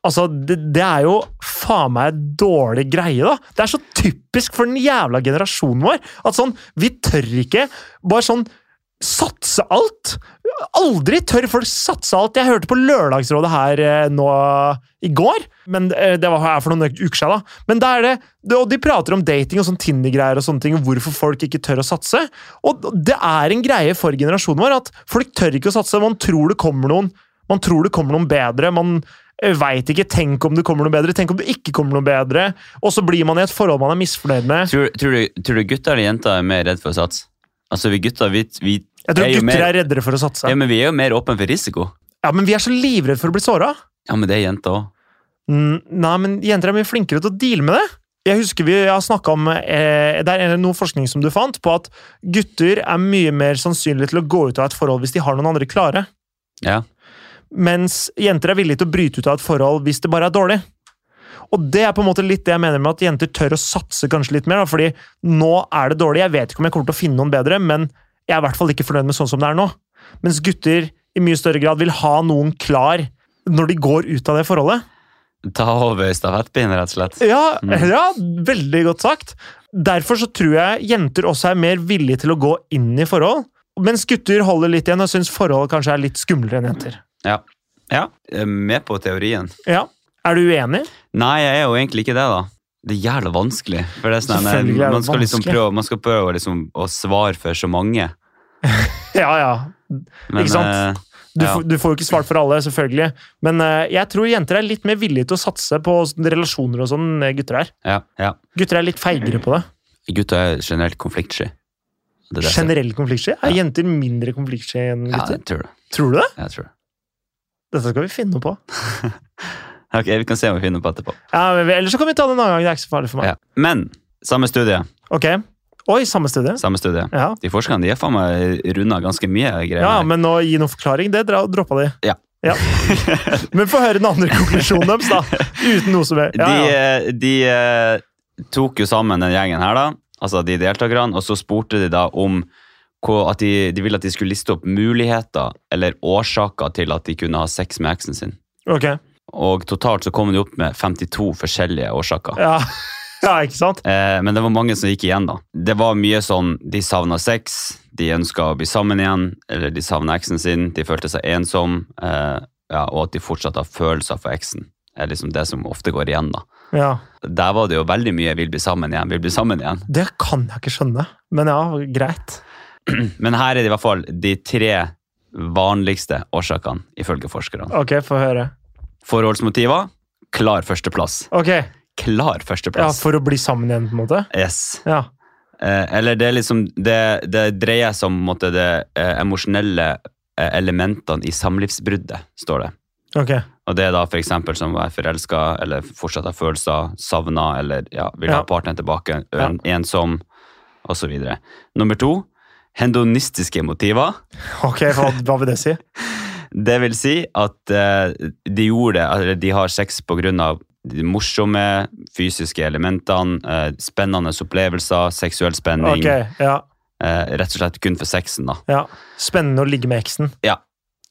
S1: Altså, det, det er jo faen meg en dårlig greie, da. Det er så typisk for den jævla generasjonen vår at sånn Vi tør ikke bare sånn satse alt. Aldri tør folk satse alt. Jeg hørte på Lørdagsrådet her eh, nå i går, men eh, det var her for noen uker siden. da. Men da er det, det, og de prater om dating og sånn Tinder-greier og sånne ting, og hvorfor folk ikke tør å satse. Og det er en greie for generasjonen vår at folk tør ikke å satse. Man tror det kommer noen, man tror det kommer noen bedre. man Veit ikke. Tenk om det kommer noe bedre. Tenk om det ikke kommer noe bedre. Og så blir man i et forhold man er misfornøyd med.
S2: Tror, tror, du, tror du gutter eller jenter er mer redd for å satse? Altså, vi gutter, vi, vi
S1: Jeg tror
S2: er jo
S1: gutter
S2: mer,
S1: er reddere for å satse.
S2: Ja, men vi er jo mer åpne for risiko.
S1: Ja, Men vi er så livredde for å bli såra.
S2: Ja, men det er jenter òg.
S1: Mm, Nei, men jenter er mye flinkere til å deale med det. Jeg husker vi har snakket om eh, Det er noe forskning som du fant på at gutter er mye mer sannsynlig til å gå ut av et forhold hvis de har noen andre klare.
S2: Ja.
S1: Mens jenter er villige til å bryte ut av et forhold hvis det bare er dårlig. Og det er på en måte litt det jeg mener med at jenter tør å satse kanskje litt mer. Da, fordi nå er det dårlig. Jeg vet ikke om jeg kommer til å finne noen bedre, men jeg er i hvert fall ikke fornøyd med sånn som det er nå. Mens gutter i mye større grad vil ha noen klar når de går ut av det forholdet.
S2: Ta over stafettpinnen, rett og slett.
S1: Ja,
S2: Mm.
S1: ja, veldig godt sagt. Derfor så tror jeg jenter også er mer villige til å gå inn i forhold. Mens gutter holder litt igjen og syns forhold kanskje er litt skumlere enn jenter.
S2: Ja. ja. Jeg er Med på teorien.
S1: Ja, Er du uenig?
S2: Nei, jeg er jo egentlig ikke det, da. Det er jævla vanskelig. For det er sånn,
S1: Selvfølgelig er det
S2: man skal liksom
S1: vanskelig.
S2: prøve, man skal prøve å liksom, å svare for så mange.
S1: Ja, ja.
S2: Men,
S1: Ikke sant?
S2: eh,
S1: Du,
S2: Ja.
S1: får- du får jo ikke svart for alle, selvfølgelig. Men eh, jeg tror jenter er litt mer villige til å satse på sånne relasjoner og sånn enn gutter er.
S2: ja, ja.
S1: Gutter er litt feigere på det.
S2: Gutter er generelt konfliktsky. Det er det jeg ser.
S1: Generell konfliktsky. Er jenter mindre konfliktsky enn
S2: Ja,
S1: gutter?
S2: jeg tror det.
S1: Tror du det?
S2: Jeg tror det.
S1: Dette skal vi finne noe på.
S2: Ok, Vi kan se om vi finner på etterpå.
S1: Ja, men, Eller så kan vi ta det en annen gang. Det er ikke så farlig for meg.
S2: Ja. Men samme studie.
S1: Ok. Oi, samme studie.
S2: Samme studie.
S1: Ja.
S2: De forskerne de har faen meg runda ganske mye greier.
S1: Ja,
S2: her.
S1: men å gi noen forklaring, det dra- droppa de.
S2: Ja. *laughs*
S1: Men få høre den andre konklusjonen deres, da. Uten noe som er ja,
S2: De,
S1: ja.
S2: eh, de eh, tok jo sammen den gjengen her, da, altså de deltakerne, og så spurte de da om hva- at de, de ville at de skulle liste opp muligheter eller årsaker til at de kunne ha sex med eksen sin.
S1: Ok.
S2: Og totalt så kom de opp med 52 forskjellige årsaker.
S1: Ja. *laughs* ja, ikke sant?
S2: Eh, men det var mange som gikk igjen, da. Det var mye sånn de savna sex, de ønska å bli sammen igjen, eller de savna eksen sin, de følte seg ensom, eh, ja, og at de fortsatt har følelser for eksen. Det er liksom det som ofte går igjen, da.
S1: Ja.
S2: Der var det jo veldig mye 'vil bli sammen igjen', 'vil bli sammen igjen'.
S1: Det kan jeg ikke skjønne, men ja, greit.
S2: Men her er det i hvert fall de tre vanligste årsakene, ifølge forskerne.
S1: Ok, få høre.
S2: Forholdsmotiver klar førsteplass.
S1: Ok,
S2: Klar
S1: ja,
S2: førsteplass.
S1: For å bli sammen igjen, på en måte?
S2: Yes.
S1: Ja.
S2: Eh, eller det er liksom Det, det dreier seg om på en måte, det eh, emosjonelle eh, elementene i samlivsbruddet, står det.
S1: Ok.
S2: Og det er da f.eks. som å være forelska eller fortsatt har følelser, savna eller ja, vil
S1: Ja.
S2: ha partneren tilbake, en, ensom osv. Nummer to hedonistiske motiver.
S1: Ok, Hva, hva vil det
S2: *laughs*
S1: si?
S2: Det vil si at eh, de gjorde det, eller de har sex på grunn av de morsomme fysiske elementene, eh, spennende opplevelser, seksuell spenning.
S1: Ok, ja,
S2: eh, rett og slett kun for sexen, da.
S1: ja. Spennende å ligge med eksen.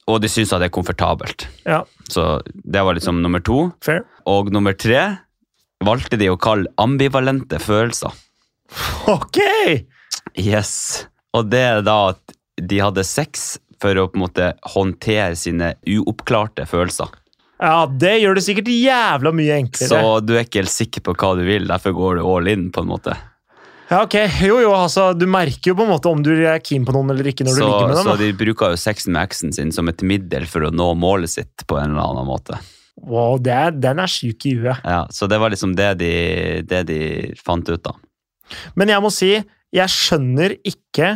S2: Og de syns at det er komfortabelt.
S1: Ja.
S2: Så det var liksom nummer to.
S1: Fair.
S2: Og nummer tre valgte de å kalle ambivalente følelser.
S1: Ok!
S2: Yes. Og det er da at de hadde sex for å på en måte håndtere sine uoppklarte følelser.
S1: Ja, det gjør det sikkert jævla mye enklere.
S2: Så du er ikke helt sikker på hva du vil, derfor går du all in, på en måte.
S1: Ja, ok. Jo, jo, altså, du merker jo på en måte om du er keen på noen eller ikke når du
S2: Så,
S1: ligger med
S2: så
S1: dem.
S2: de bruker jo sexen med eksen sin som et middel for å nå målet sitt på en eller annen måte.
S1: Da. Wow, det er, den er syk i huet.
S2: Ja, så det var liksom det de, det de fant ut, da.
S1: Men jeg må si, jeg skjønner ikke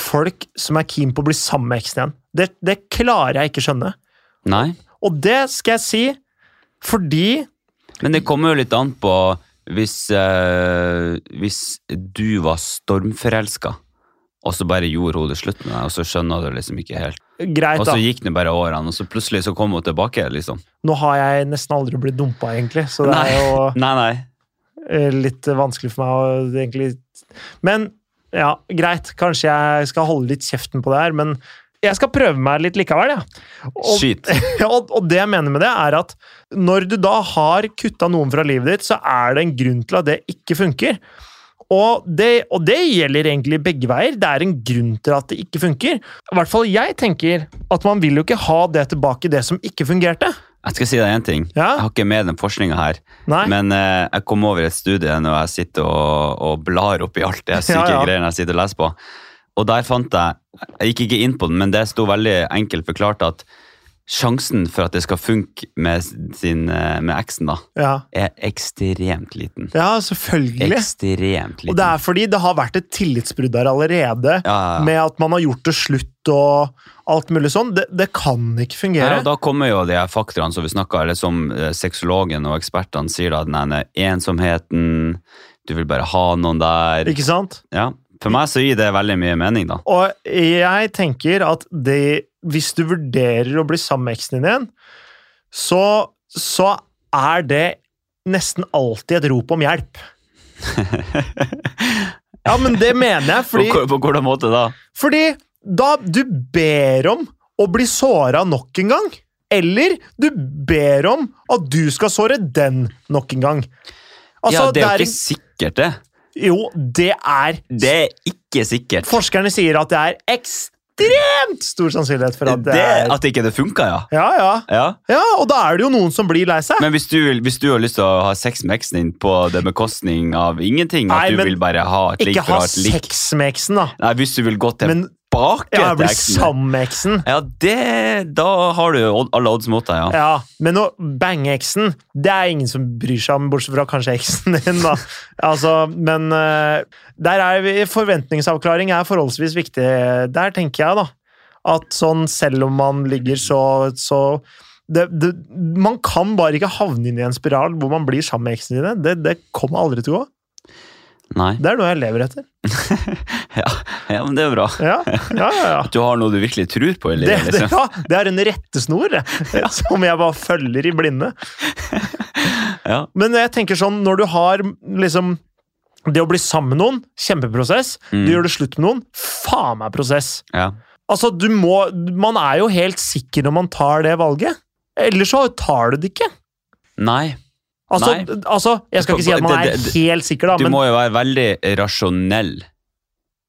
S1: folk som er keen på å bli sammen med eksen igjen. Det, det klarer jeg ikke skjønne.
S2: Nei?
S1: Og det skal jeg si fordi
S2: Men det kommer jo litt an på hvis, eh, hvis du var stormforelska, og så bare gjorde hun det slutt med deg, og så skjønner du liksom ikke helt.
S1: Greit,
S2: Og
S1: da.
S2: så gikk det bare årene, og så plutselig så kom hun tilbake, liksom.
S1: Nå har jeg nesten aldri blitt dumpa, egentlig, så det er jo
S2: Nei, nei.
S1: *laughs* eh, litt vanskelig for meg å egentlig Men ja, greit, kanskje jeg skal holde litt kjeften på det her, men Jeg skal prøve meg litt likevel, jeg. Og,
S2: Skyt.
S1: og, og det jeg mener med det, er at når du da har kutta noen fra livet ditt, så er det en grunn til at det ikke funker. Og det, og det gjelder egentlig begge veier. Det er en grunn til at det ikke funker. I hvert fall jeg tenker at man vil jo ikke ha det tilbake, det som ikke fungerte.
S2: Jeg skal si deg én ting.
S1: Ja?
S2: Jeg har ikke med den forskninga her,
S1: Nei?
S2: men eh, jeg kom over et studie når jeg sitter og, og blar oppi alt det
S1: *laughs*
S2: syke
S1: Ja, ja.
S2: greiene jeg sitter og leser på. Og der fant jeg Jeg gikk ikke inn på den, men det sto veldig enkelt forklart at sjansen for at det skal funke med, sin, eh, med eksen, da,
S1: Ja,
S2: er ekstremt liten.
S1: ja selvfølgelig.
S2: Ekstremt liten.
S1: Og det er fordi det har vært et tillitsbrudd der allerede,
S2: ja, ja, ja.
S1: med at man har gjort det slutt og alt mulig sånn. Det, det kan ikke
S2: Ja,
S1: fungere.
S2: og da kommer jo de her faktorene som vi snakket, eller som eh, sexologen og ekspertene sier, da, den ene ensomheten, du vil bare ha noen der.
S1: Ikke sant?
S2: Ja. For meg så gir det veldig mye mening, da.
S1: Og jeg tenker at det, hvis du vurderer å bli sammen med eksen din igjen, så, så er det nesten alltid et rop om hjelp.
S2: *laughs*
S1: Ja, men det mener jeg, fordi,
S2: på, på hvordan måte da?
S1: fordi da du ber om å bli såra nok en gang, eller du ber om at du skal såre den nok en gang.
S2: ja,
S1: Altså,
S2: det er jo ikke sikkert, det.
S1: Jo, det er
S2: Det er ikke sikkert.
S1: Forskerne sier at det er ekstremt stor sannsynlighet for at det,
S2: det,
S1: er
S2: at ikke det funka, ja.
S1: Ja, ja.
S2: ja.
S1: Ja, og da er det jo noen som blir lei seg.
S2: Men hvis du, vil- hvis du har lyst til å ha sex med eksen din på det bekostning av ingenting,
S1: Nei,
S2: at du
S1: men
S2: vil bare ha et ligg
S1: ikke
S2: for
S1: ha
S2: å ha et ligg
S1: sex med eksen, da.
S2: Nei, hvis du vil gå tilbake
S1: Men
S2: til
S1: ja, bli
S2: eksen din.
S1: sammen med eksen.
S2: Ja, det Da har du jo odd- alle odds mot deg, ja.
S1: Ja, Men å bange eksen, det er ingen som bryr seg om, bortsett fra kanskje eksen din, da. Altså, men eh, der er vi, forventningsavklaring er forholdsvis viktig. Der tenker jeg, da. At sånn, selv om man ligger så, så det, det, Man kan bare ikke havne inn i en spiral hvor man blir sammen med eksen sine. Det, det kommer aldri til å gå.
S2: Nei. *laughs*
S1: Det er noe jeg lever etter.
S2: Ja, ja, men det er bra.
S1: Ja, ja, ja. ja.
S2: Du har noe du virkelig tror på i
S1: Det,
S2: livet.
S1: det, *laughs*
S2: Liksom.
S1: ja, det er en rettesnor eh, *laughs* som jeg bare følger i blinde.
S2: Ja.
S1: Men jeg tenker sånn, når du har liksom Det å bli sammen med noen, kjempeprosess.
S2: Mm.
S1: Du gjør det slutt med noen, faen meg prosess.
S2: Ja.
S1: Altså, du må Man er jo helt sikker når man tar det valget. Ellers så tar du det ikke.
S2: Nei.
S1: Altså,
S2: Nei.
S1: d- altså, jeg skal ikke si at man
S2: Det-
S1: er
S2: det- det-
S1: helt sikker, da,
S2: Du
S1: men
S2: må jo være veldig rasjonell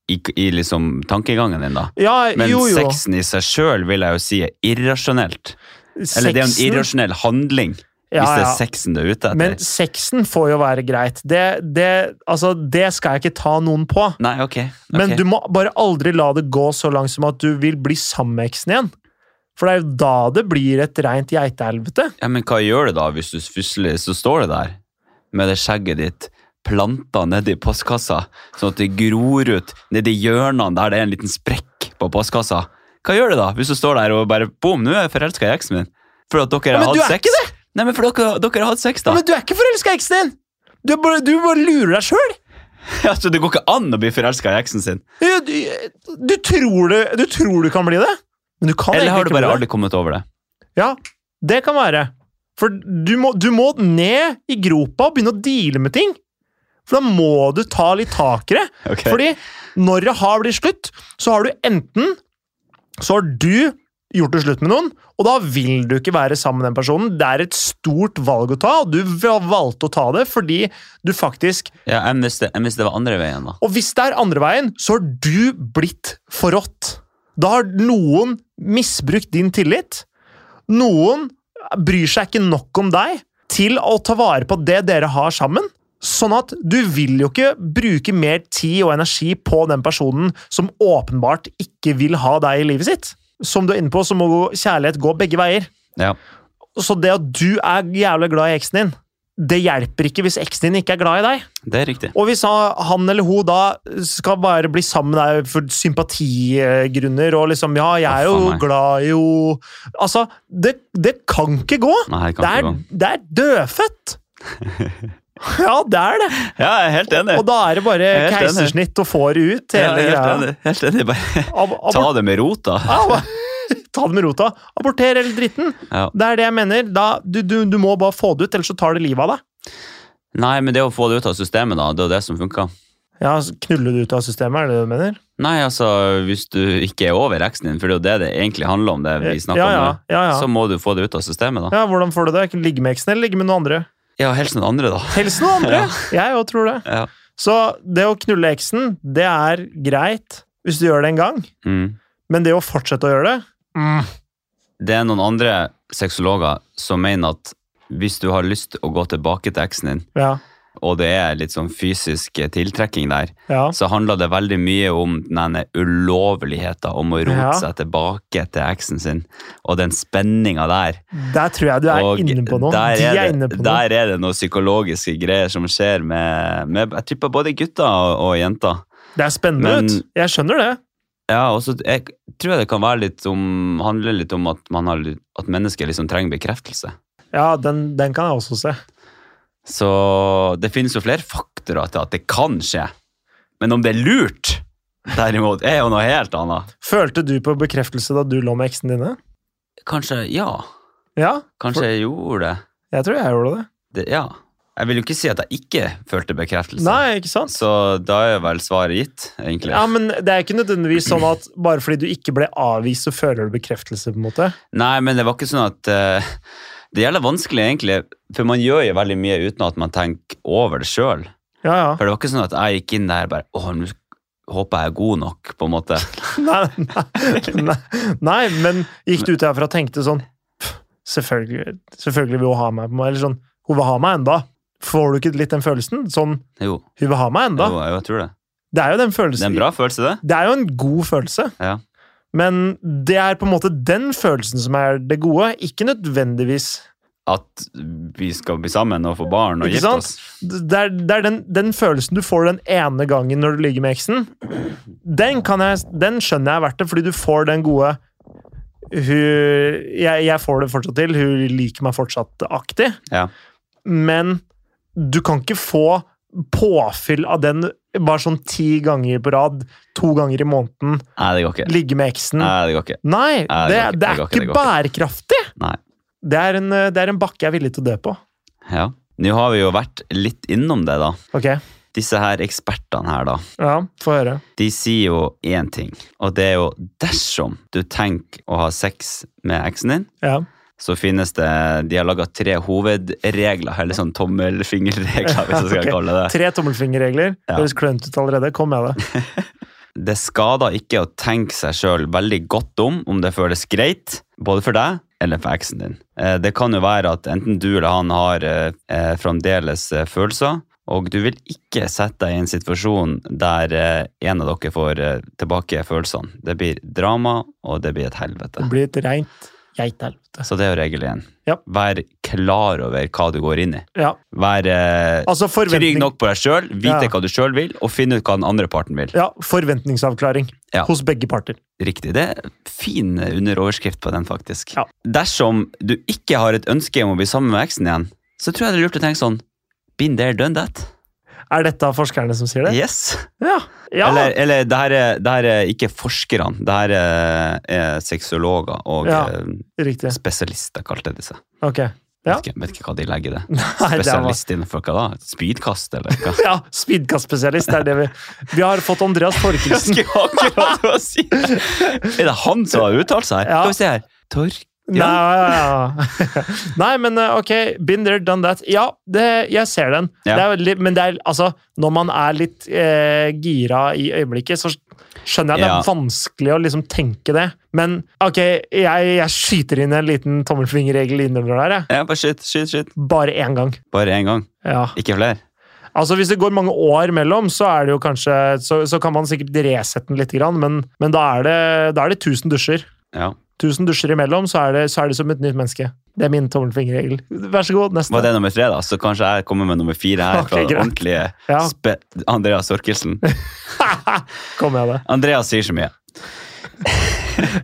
S2: i, i liksom tankegangen din, da.
S1: ja,
S2: Men
S1: jo, jo.
S2: sexen i seg sjøl vil jeg jo si er irrasjonelt. Eller det er jo en
S1: Sexen-
S2: irrasjonell handling,
S1: Ja,
S2: hvis det
S1: ja.
S2: er sexen du er ute etter.
S1: Men sexen får jo være greit. Det, det, altså, det skal jeg ikke ta noen på.
S2: Nei, ok. ok.
S1: Men du må bare aldri la det gå så langt som at du vil bli sammen med eksen igjen. For det er jo da det blir et reint geitehelvete.
S2: Ja, men hva gjør du da hvis du fusler, så står det der med det skjegget ditt planta nedi postkassa, sånn at det gror ut nedi hjørnene der det er en liten sprekk på postkassa. Hva gjør du da hvis du står der og bare boom, nå er jeg forelska i eksen min? For at dere
S1: Ja, men
S2: har
S1: du
S2: hatt
S1: er
S2: sex.
S1: ikke
S2: Nei, men for dere, dere har hatt sex, da. *laughs*
S1: Men du er ikke forelska i eksen din! Du er bare, du bare lurer deg sjøl!
S2: Altså, det går ikke an å bli forelska i eksen sin.
S1: Du, du, tror det- du tror du kan bli det, men du kan
S2: Eller har
S1: egentlig
S2: du
S1: ikke
S2: bare
S1: bli det.
S2: aldri kommet over det?
S1: Ja, det kan være. For du må, du må ned i gropa og begynne å deale med ting. For da må du ta litt tak i det.
S2: Ok.
S1: Fordi når det har blitt slutt, så har du enten så har du gjort det slutt med noen, og da vil du ikke være sammen med den personen. Det er et stort valg å ta, og du valgte å ta det fordi du faktisk
S2: Ja, enn hvis det, enn hvis det var andre veien, da.
S1: Og hvis det er andre veien, så har du blitt forrådt. Da har noen misbrukt din tillit. Noen bryr seg ikke nok om deg til å ta vare på det dere har sammen. Sånn at du vil jo ikke bruke mer tid og energi på den personen som åpenbart ikke vil ha deg i livet sitt. Som du er inne på, så må kjærlighet gå begge veier.
S2: Ja.
S1: Så det at du er jævlig glad i eksen din, det hjelper ikke hvis eksen din ikke er glad i deg.
S2: Det er riktig.
S1: Og hvis han han eller hun da skal bare bli sammen med deg for sympatigrunner og liksom Ja, jeg er
S2: Å, faen
S1: jo
S2: meg.
S1: glad i jo Altså, det, det kan ikke gå!
S2: Nei, her
S1: Det
S2: kan
S1: er,
S2: ikke gå.
S1: det er
S2: *laughs*
S1: dødfødt! Ja, det er det!
S2: Ja, jeg er helt enig.
S1: Og da er det bare
S2: Jeg er helt enig.
S1: keisersnitt og får ut
S2: Ja,
S1: hele
S2: jeg er
S1: greia.
S2: helt enig. Helt enig. Bare
S1: Ab abor-
S2: ta det med rota.
S1: Ja, ba- Ta det med rota. Aborter hele dritten.
S2: Ja.
S1: Det er det jeg mener. Da, du, du, du må bare få det ut, ellers så tar det livet av deg.
S2: Nei, men det å få det ut av systemet, da, det er det som funker.
S1: Ja, så Knuller du ut av systemet, er det det du mener?
S2: Nei, altså, hvis du ikke er over eksen din, for det er jo det det egentlig handler om, det vi snakker
S1: ja,
S2: om
S1: ja,
S2: nå,
S1: ja, ja.
S2: så må du få det ut av systemet, da.
S1: ja, hvordan får du det? Ligge med eksen, eller ligge med noen andre?
S2: Ja, helst noen andre, da.
S1: Helst noen andre! Jeg òg tror det.
S2: Ja.
S1: Så det å knulle eksen, det er greit hvis du gjør det en gang,
S2: Mm.
S1: men det å fortsette å gjøre det mm.
S2: Det er noen andre sexologer som mener at hvis du har lyst å gå tilbake til eksen din,
S1: Ja.
S2: og det er litt sånn fysisk eh, tiltrekking der,
S1: ja.
S2: så handler det veldig mye om denne ulovligheten om å rote
S1: Ja.
S2: seg tilbake til eksen sin, og den spenninga der.
S1: Der tror jeg du er
S2: Og
S1: inne på noe.
S2: Der
S1: De
S2: er,
S1: er inne
S2: det,
S1: på noe.
S2: der er det noen psykologiske greier som skjer med, med Jeg tipper både gutter og, og jenter.
S1: Det er spennende
S2: Men-
S1: ut. Jeg skjønner det.
S2: Ja, og så jeg tror jeg det kan være litt om, handle litt om at, man har, litt- at mennesker liksom trenger bekreftelse.
S1: Ja, den, den kan jeg også se.
S2: Så det finnes jo flere faktorer til at det kan skje. Men om det er lurt, derimot, er jo noe helt annet.
S1: Følte du på bekreftelse da du lå med eksen dine?
S2: Kanskje ja.
S1: Ja,
S2: Kanskje jeg gjorde det.
S1: jeg tror jeg gjorde det.
S2: det. Ja. Jeg vil jo ikke si at jeg ikke følte bekreftelse.
S1: Nei, ikke sant?
S2: Så da er vel svaret gitt, egentlig.
S1: Ja, men Det er ikke nødvendigvis sånn at bare fordi du ikke ble avvist, så føler du bekreftelse. på en måte.
S2: Nei, men det var ikke sånn at eh, Det gjelder vanskelig, egentlig. For man gjør jo veldig mye uten at man tenker over det sjøl.
S1: Ja, ja.
S2: For det var ikke sånn at jeg gikk inn der bare Å, nå håper jeg er god nok, på en måte.
S1: *laughs* Nei, nei, nei, nei, men gikk du ut derfra og tenkte sånn «Pff, Selvfølgelig, selvfølgelig vil hun ha meg. på meg», Eller sånn Hun vil ha meg enda. Får du ikke litt den følelsen? Sånn
S2: Jo,
S1: Hun vil ha meg
S2: jo
S1: enda.
S2: jeg tror det.
S1: Det er jo den
S2: Det er
S1: følelsen.
S2: en bra følelse, det.
S1: Det er jo en god følelse.
S2: Ja.
S1: Men det er på en måte den følelsen som er det gode, ikke nødvendigvis
S2: At vi skal bli sammen og få barn og
S1: Ikke
S2: gifte
S1: sant?
S2: oss.
S1: det er, det er den, den følelsen du får den ene gangen når du ligger med eksen, den, kan jeg, den skjønner jeg er verdt det, fordi du får den gode hun, jeg, jeg får det fortsatt til, hun liker meg fortsatt-aktig.
S2: Ja.
S1: Men du kan ikke få påfyll av den bare sånn ti ganger på rad, to ganger i måneden,
S2: Nei, det går ikke.
S1: ligge med eksen.
S2: Nei, det går ikke.
S1: Nei,
S2: Nei,
S1: det,
S2: det går ikke,
S1: det
S2: det
S1: er
S2: går ikke,
S1: ikke
S2: det går
S1: bærekraftig!
S2: Nei.
S1: Det er, en, det er en bakke jeg er villig til å dø på.
S2: Ja. Nå har vi jo vært litt innom det, da.
S1: Ok,
S2: Disse her ekspertene her, da.
S1: ja, få høre.
S2: De sier jo én ting, og det er jo dersom du tenker å ha sex med eksen din,
S1: Ja.
S2: så finnes det De har laga tre hovedregler, eller sånn tommelfingerregler, hvis jeg skal
S1: Ok.
S2: kalle det
S1: Tre tommelfingerregler.
S2: Ja.
S1: Høres klønete ut allerede. Kom med det.
S2: det. Det skader ikke å tenke seg sjøl veldig godt om om det føles greit, både for deg eller for eksen din. Eh, Det kan jo være at enten du eller han har eh, eh, fremdeles eh, følelser, og du vil ikke sette deg i en situasjon der eh, en av dere får eh, tilbake følelsene. Det blir drama, og det blir et helvete.
S1: Det blir et reint geithelvete.
S2: Så det er jo regel én.
S1: Ja.
S2: Vær klar over hva du går inn i.
S1: Ja.
S2: Vær eh,
S1: Altså
S2: trygg
S1: forventning,
S2: nok på deg sjøl, vite
S1: Ja.
S2: hva du sjøl vil, og finne ut hva den andre parten vil.
S1: ja, forventningsavklaring
S2: Ja.
S1: hos begge parter.
S2: Riktig. Det er fin underoverskrift på den, faktisk.
S1: Ja.
S2: Dersom du ikke har et ønske om å bli sammen med eksen igjen, så tror jeg det er lurt å tenke sånn Been there, done that.
S1: Er dette av forskerne som sier det?
S2: Yes.
S1: Ja. ja.
S2: Eller, eller det, her er, det her er ikke forskerne, det her er, er sexologer og
S1: Ja.
S2: eh,
S1: Riktig.
S2: spesialister, kalte de seg.
S1: Ok. Ja.
S2: Vet, ikke, vet ikke hva de legger i det.
S1: *laughs* Nei, det var
S2: Spesialist innenfor hva da? Spydkast, eller
S1: *laughs*
S2: hva?
S1: ja, Speedkast-spesialist. Det er det vi Vi har fått Andreas
S2: Jeg
S1: Torkelsen.
S2: skulle akkurat til å si det. *laughs* Er det han som har uttalt seg?
S1: Ja.
S2: Skal vi se her. Tork...
S1: Nei,
S2: Ja.
S1: ja. *laughs* Nei, men eh, ok. Been there, done that. Ja, det, jeg ser den.
S2: Ja.
S1: Det er veldig, men det er, altså, når man er litt eh, gira i øyeblikket, så skjønner jeg at det
S2: Ja.
S1: er vanskelig å liksom tenke det. Men ok, jeg, jeg skyter inn en liten tommelfingerregel innover der. Jeg.
S2: Ja, bare skyt, skyt, skyt.
S1: Bare én gang.
S2: Bare én gang,
S1: Ja.
S2: ikke flere.
S1: Altså, Hvis det går mange år mellom, så er det jo kanskje, så, så kan man sikkert resette den litt, grann, men, men da, er det, da er det 1000 dusjer.
S2: Ja.
S1: 1000 dusjer imellom, så er det, så er det som et nytt menneske. Det er min tommelfingerregel. Vær så god, neste.
S2: Var det nummer tre, da? Så kanskje jeg kommer med nummer fire her.
S1: *laughs* Ok,
S2: fra den
S1: greit.
S2: ordentlige
S1: Ja,
S2: spe Andreas Orkelsen.
S1: kom med det.
S2: Andreas sier så mye.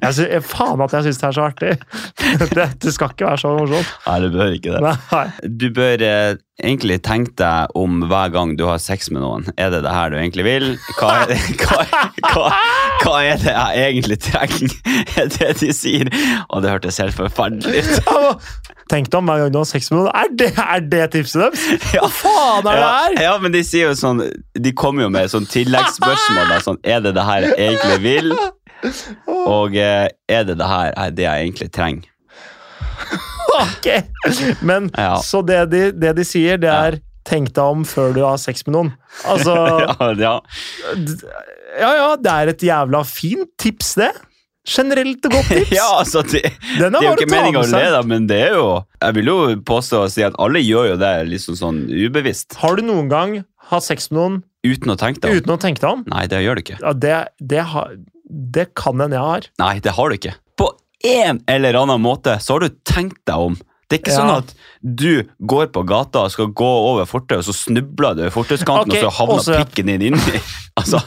S1: Jeg sy faen at jeg syns det er så artig! *laughs* Det, det skal ikke være så morsomt.
S2: Nei, du bør ikke det.
S1: Nei.
S2: Du bør eh, egentlig tenke deg om hver gang du har sex med noen. Er det det her du egentlig vil? Hva er det, *laughs* hva, hva, hva er det *laughs* jeg egentlig trenger? Er det de sier? Og det hørtes helt forferdelig ut.
S1: Ja, Tenk deg om hver gang du har sex med noen. Er det, er det tipset deres?
S2: Ja.
S1: Hva faen er det
S2: Ja,
S1: her?!
S2: ja, men de sier jo sånn De kommer jo med sånn tilleggsspørsmål. Da, sånn, er det det her jeg egentlig vil? Og eh, er det det her er det jeg egentlig trenger? *laughs*
S1: Ok! Men
S2: Ja.
S1: så det de, det de sier, det er tenk deg om før du har sex med noen. Altså
S2: *laughs* Ja, ja.
S1: d- Ja ja, det er et jævla fint tips, det. Generelt
S2: *laughs*
S1: og godt tips.
S2: ja altså det, det
S1: Den
S2: er jo
S1: bare
S2: ikke
S1: å ta
S2: meninga å
S1: med seg.
S2: le, da, men det er jo Jeg vil jo påstå og si at alle gjør jo det liksom sånn ubevisst.
S1: Har du noen gang hatt sex med noen
S2: Uten å tenke deg om.
S1: uten å tenke deg om?
S2: Nei, det gjør du ikke.
S1: Ja, det, det, har- det kan hende jeg har.
S2: Nei, det har du ikke. På en eller annen måte så har du tenkt deg om. Det er ikke
S1: Ja.
S2: sånn at du går på gata og skal gå over fortauet, og så snubler du i fortauskanten,
S1: Ok,
S2: og så havner
S1: også-
S2: pikken din inni. *laughs* Altså,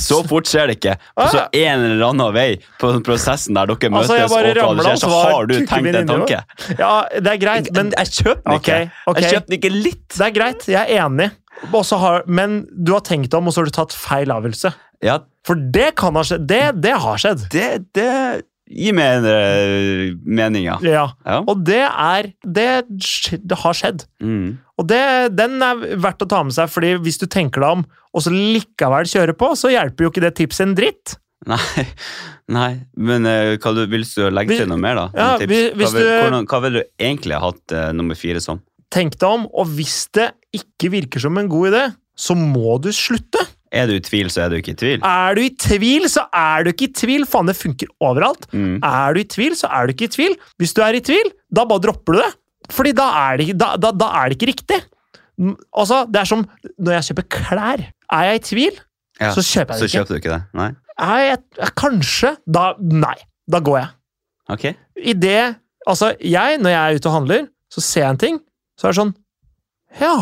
S2: så fort skjer det ikke. Og så en eller annen vei på den prosessen der dere møtes,
S1: Ah, Altså, jeg bare
S2: og
S1: ramlet,
S2: hva det skjer,
S1: og så
S2: så
S1: var
S2: har du
S1: kukken min
S2: tenkt en
S1: inni
S2: tanke.
S1: Ja, det er greit, men
S2: Men jeg kjøper den ikke.
S1: Ok, ok.
S2: Jeg kjøper den ikke litt.
S1: det er greit, jeg er enig. Og så har, men du har tenkt deg om, og så har du tatt feil avgjørelse.
S2: Ja,
S1: For det kan ha skjedd. Det, det har skjedd.
S2: det, det gir meg en eh, mening, ja.
S1: Ja.
S2: ja.
S1: Og det er Det, skj- det har skjedd.
S2: Mm.
S1: Og det, den er verdt å ta med seg, fordi hvis du tenker deg om, og så likevel kjører på, så hjelper jo ikke det tipset en dritt.
S2: Nei, nei. men eh, hva du, vil du legge
S1: Vi-
S2: til noe mer, da?
S1: Ja,
S2: Noen tips?
S1: vi- hvis
S2: hva, vil,
S1: du-
S2: hvordan, hva vil du egentlig ha hatt eh, nummer fire som?
S1: Tenk deg om, og hvis det ikke virker som en god idé, så må du slutte.
S2: Er du i tvil, så er du ikke i tvil.
S1: Er du i tvil, så er du ikke i tvil. Faen, det funker overalt.
S2: Mm.
S1: Er du i tvil, så er du ikke i tvil. Hvis du er i tvil, da bare dropper du det. Fordi da er det, ikke- da, da, da er det ikke riktig. Mm, Altså, Det er som når jeg kjøper klær. Er jeg i tvil,
S2: Ja,
S1: så kjøper jeg
S2: Så
S1: det ikke.
S2: kjøper du ikke det? Nei?
S1: Er jeg, ja, kanskje Da Nei. Da går jeg.
S2: Ok.
S1: I det Altså, jeg, når jeg er ute og handler, så ser jeg en ting, så er det sånn Ja.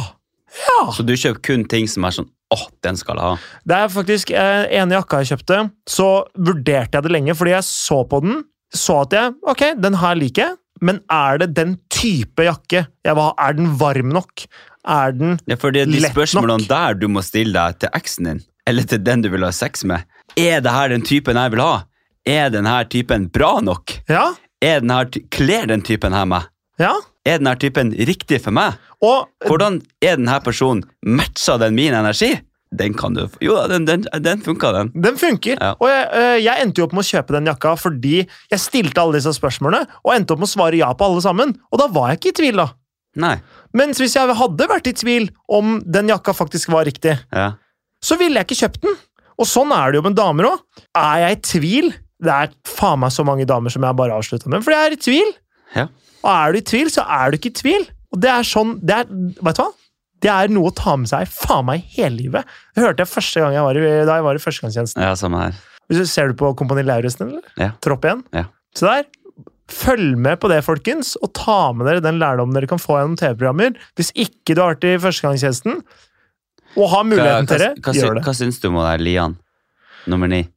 S1: Ja.
S2: Så du kjøper kun ting som er sånn åh, den skal jeg ha.
S1: Det er faktisk eh, ene jakka jeg kjøpte, så vurderte jeg det lenge, fordi jeg så på den, så at jeg, ok, den her liker jeg, men er det den type jakke jeg vil ha? Er den varm nok? Er den
S2: Ja, for det er de
S1: Lett
S2: spørsmålene
S1: nok.
S2: der du må stille deg til eksen din, eller til den du vil ha sex med, er det her den typen jeg vil ha? Er den her typen bra nok?
S1: Ja,
S2: Er den her ty Kler den typen her meg?
S1: ja.
S2: Er den her typen riktig for meg?
S1: Og
S2: Hvordan er denne personen? Matcha den min energi? Den kan du Jo da, den, den, den funka, den.
S1: den funker.
S2: Ja.
S1: Og jeg, eh, jeg endte jo opp med å kjøpe den jakka fordi jeg stilte alle disse spørsmålene, og endte opp med å svare ja på alle sammen. Og da var jeg ikke i tvil, da.
S2: Nei.
S1: Mens hvis jeg hadde vært i tvil om den jakka faktisk var riktig,
S2: Ja.
S1: så ville jeg ikke kjøpt den. Og sånn er det jo med damer òg. Er jeg i tvil Det er faen meg så mange damer som jeg bare avslutta med, fordi jeg er i tvil.
S2: Ja.
S1: Og er du i tvil, så er du ikke i tvil. Og det er sånn det er, Vet du hva? Det er noe å ta med seg faen meg hele livet. Det hørte jeg første gang jeg var i, da jeg var i førstegangstjenesten.
S2: ja, samme her.
S1: Hvis du- Ser du på Kompani Lauritzen, eller?
S2: Ja.
S1: Tropp igjen?
S2: Ja.
S1: Se der. Følg med på det, folkens, og ta med dere den lærdommen dere kan få gjennom TV-programmer. Hvis ikke du har vært i førstegangstjenesten, og har muligheten til
S2: hva,
S1: det,
S2: hva,
S1: gjør
S2: sy-
S1: det.
S2: hva syns du om det her Lian? Nummer ni.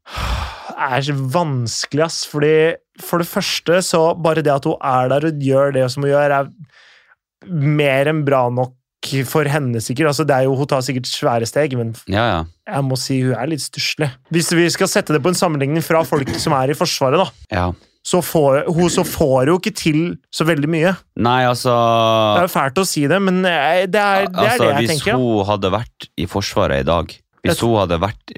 S1: er så vanskelig, ass. Fordi for det første så bare det at hun er der og gjør det som hun gjør, er mer enn bra nok for henne, sikkert. Altså, det er jo, hun tar sikkert svære steg, men
S2: Ja, ja.
S1: jeg må si hun er litt stusslig. Hvis vi skal sette det på en sammenligning fra folk som er i Forsvaret, da,
S2: ja.
S1: så får hun så får jo ikke til så veldig mye.
S2: Nei, altså
S1: Det er jo fælt å si det, men eh, det er det, er
S2: altså,
S1: det jeg
S2: Hvis
S1: tenker. da.
S2: hun hadde vært i Forsvaret i dag, hvis
S1: Jeg-
S2: hun hadde vært,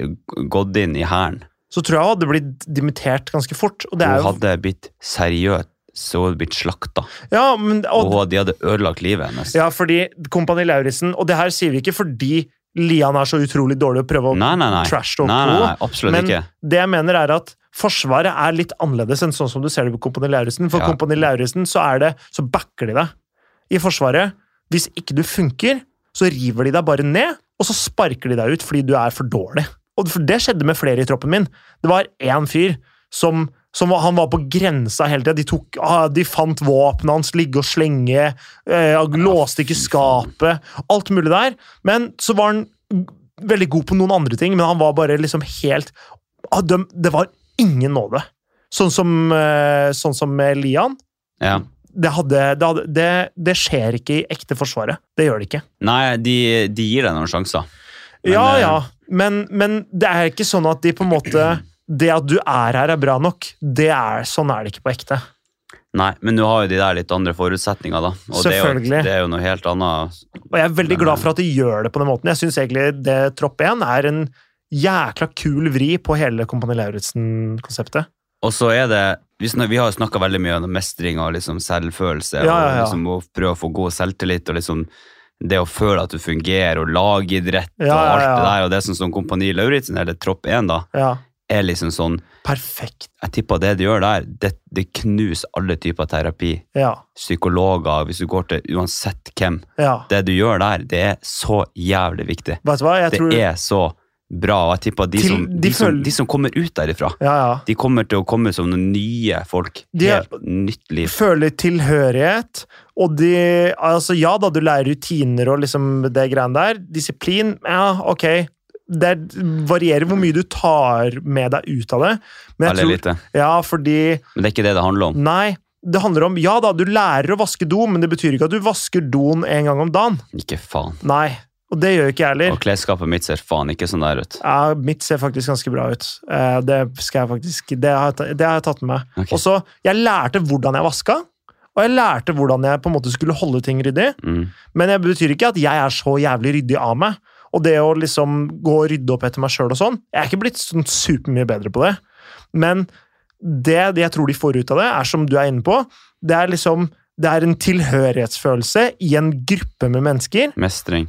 S2: gått inn i Hæren,
S1: Så tror jeg hun hadde blitt dimittert ganske fort. Og det er
S2: hun
S1: jo,
S2: hadde blitt seriøst, så hun hadde blitt slakta.
S1: ja, men, og,
S2: Og de hadde ødelagt livet hennes.
S1: Ja, fordi Kompani Lauritzen Og det her sier vi ikke fordi Lian er så utrolig dårlig å prøve å
S2: Nei, nei, nei.
S1: trash talk
S2: Nei, nei, nei,
S1: på.
S2: absolutt
S1: Men-
S2: ikke.
S1: Det jeg mener, er at Forsvaret er litt annerledes enn sånn som du ser det på Kompani Lauritzen. For
S2: Ja.
S1: Kompani Lauritzen så er det Så backer de deg i Forsvaret. Hvis ikke du funker, så river de deg bare ned, og så sparker de deg ut fordi du er for dårlig. Og for det skjedde med flere i troppen min. Det var én fyr som, som var, han var på grensa hele tida. De, tok- ah, de fant våpenet hans, ligge og slenge, eh, han låste ikke skapet, alt mulig der. Men så var han veldig god på noen andre ting, men han var bare liksom helt ah, de, Det var ingen nåde. Sånn som, eh, sånn som med Lian.
S2: Ja.
S1: Det, hadde, det, hadde, det, det skjer ikke i ekte Forsvaret. Det gjør det ikke.
S2: Nei, de, de gir deg noen sjanser. Men,
S1: ja,
S2: eh,
S1: ja. Men, men det er ikke sånn at de på en måte Det at du er her, er bra nok. Det er, sånn er det ikke på ekte.
S2: Nei, men nå har jo de der litt andre forutsetninger, da. Og Det er,
S1: Selvfølgelig.
S2: jo, det er jo noe helt annet.
S1: Og jeg er veldig glad
S2: eh,
S1: for at de gjør det på den måten. Jeg syns egentlig det Tropp 1 er en jækla kul vri på hele Kompani Lauritzen-konseptet.
S2: Og så er det Vi, snak, vi har jo snakka veldig mye om mestring og liksom selvfølelse,
S1: Ja, ja, ja.
S2: og liksom å prøve å få god selvtillit og liksom det å føle at du fungerer, og lagidrett
S1: Ja,
S2: og
S1: ja,
S2: alt det
S1: ja.
S2: der. Og det er sånn som Kompani Lauritzen, eller Tropp 1, da,
S1: Ja,
S2: er liksom sånn
S1: perfekt.
S2: Jeg tipper det de gjør der, det, det knuser alle typer terapi.
S1: Ja,
S2: Psykologer, hvis du går til uansett hvem.
S1: ja.
S2: Det du gjør der, det er så jævlig viktig.
S1: Vet du hva, jeg
S2: Det
S1: tror
S2: er så bra. Og jeg tipper at de,
S1: Til-
S2: som,
S1: de
S2: de, som,
S1: føl-
S2: de som kommer ut derifra,
S1: Ja, ja.
S2: de kommer til å komme som noen nye folk.
S1: De er-
S2: Helt nytt liv.
S1: føler tilhørighet, og de Altså, ja da, du lærer rutiner og liksom det greiene der. Disiplin, ja, ok. Det varierer hvor mye du tar med deg ut av det. Men jeg
S2: Eller
S1: tror
S2: lite.
S1: Ja, fordi
S2: Men det er ikke det det handler om.
S1: Nei. Det handler om Ja da, du lærer å vaske do, men det betyr ikke at du vasker doen en gang om dagen.
S2: Ikke faen.
S1: Nei. Og det gjør ikke jeg heller.
S2: Og klesskapet mitt ser faen ikke sånn der ut.
S1: Ja, mitt ser faktisk ganske bra ut. Eh, Det skal jeg faktisk Det har jeg, ta- det har jeg tatt med meg.
S2: Ok.
S1: Og så, Jeg lærte hvordan jeg vaska, og jeg lærte hvordan jeg på en måte skulle holde ting ryddig.
S2: Mm.
S1: Men det betyr ikke at jeg er så jævlig ryddig av meg. Og det å liksom gå og rydde opp etter meg sjøl og sånn Jeg er ikke blitt sånn supermye bedre på det. Men det, det jeg tror de får ut av det, er som du er inne på, det er liksom det er en tilhørighetsfølelse i en gruppe med mennesker.
S2: Mestring.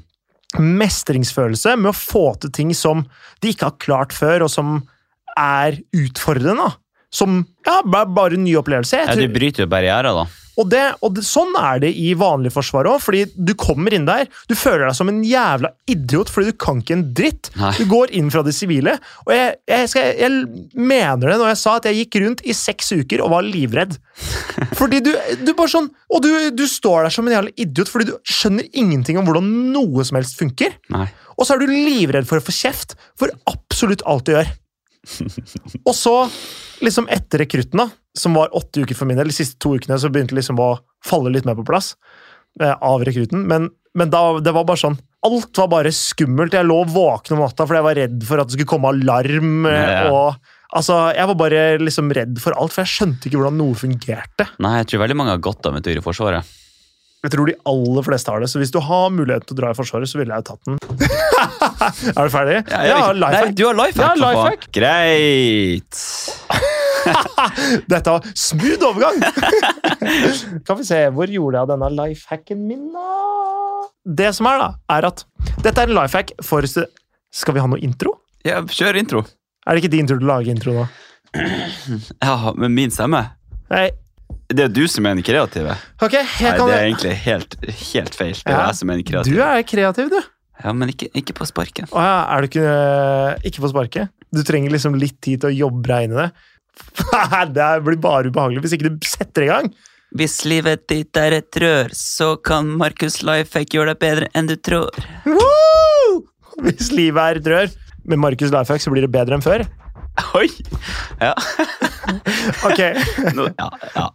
S1: Mestringsfølelse med å få til ting som de ikke har klart før, og som er utfordrende. da. Som ja, bare, bare en ny opplevelse. Jeg
S2: Ja,
S1: tror-
S2: de bryter jo barrierer, da.
S1: og, det, og det, sånn er det i vanlig forsvar òg, fordi du kommer inn der, du føler deg som en jævla idiot fordi du kan ikke en dritt.
S2: Nei.
S1: Du går inn fra det sivile, og jeg, jeg, skal, jeg mener det når jeg sa at jeg gikk rundt i seks uker og var livredd. Fordi du, du bare sånn Og du, du står der som en jævla idiot fordi du skjønner ingenting om hvordan noe som helst funker.
S2: Nei.
S1: Og så er du livredd for å få kjeft for absolutt alt du gjør.
S2: *laughs*
S1: Og så, liksom etter rekrutten, da, som var åtte uker for min del, de siste to ukene så begynte det liksom å falle litt mer på plass eh, av rekrutten. Men, men da, det var bare sånn Alt var bare skummelt. Jeg lå våken om natta fordi jeg var redd for at det skulle komme alarm. eh,
S2: Ja.
S1: og Altså, Jeg var bare liksom redd for alt, for jeg skjønte ikke hvordan noe fungerte.
S2: Nei, jeg tror veldig mange har godt av en tur i Forsvaret.
S1: Jeg tror de aller fleste har det, så hvis du har mulighet til å dra i Forsvaret, så ville jeg tatt den. *laughs* er du ferdig?
S2: Ja, jeg vet ikke.
S1: life
S2: Nei, du har life
S1: Ja,
S2: hack, for faen.
S1: lifehack.
S2: Greit.
S1: Dette var smooth overgang! *laughs* kan vi se, hvor gjorde jeg av denne lifehacken min, da? Det som er, da, er at dette er en lifehack for stu- Skal vi ha noe intro?
S2: Ja, kjør intro.
S1: Er det ikke din tur til å lage intro nå?
S2: Ja, men min stemme.
S1: Nei.
S2: Det er jo du som er den kreative.
S1: Ok, jeg
S2: Nei,
S1: kan
S2: det er egentlig helt, helt feil. Det er
S1: Ja.
S2: jeg som er den
S1: Du
S2: kreative.
S1: er kreativ, du.
S2: Ja, men ikke, ikke på sparken.
S1: Å ja, er du ikke, eh, ikke på sparket? Du trenger liksom litt tid til å jobbe deg inn i det. det blir bare ubehagelig hvis ikke du setter i gang.
S2: Hvis livet ditt er et rør, så kan Markus Lifehack gjøre deg bedre enn du tror.
S1: Woo! Hvis livet er et rør med Markus Lifehack, så blir det bedre enn før.
S2: *laughs* Oi! Ja.
S1: Ok,
S2: Nå, ja, ja.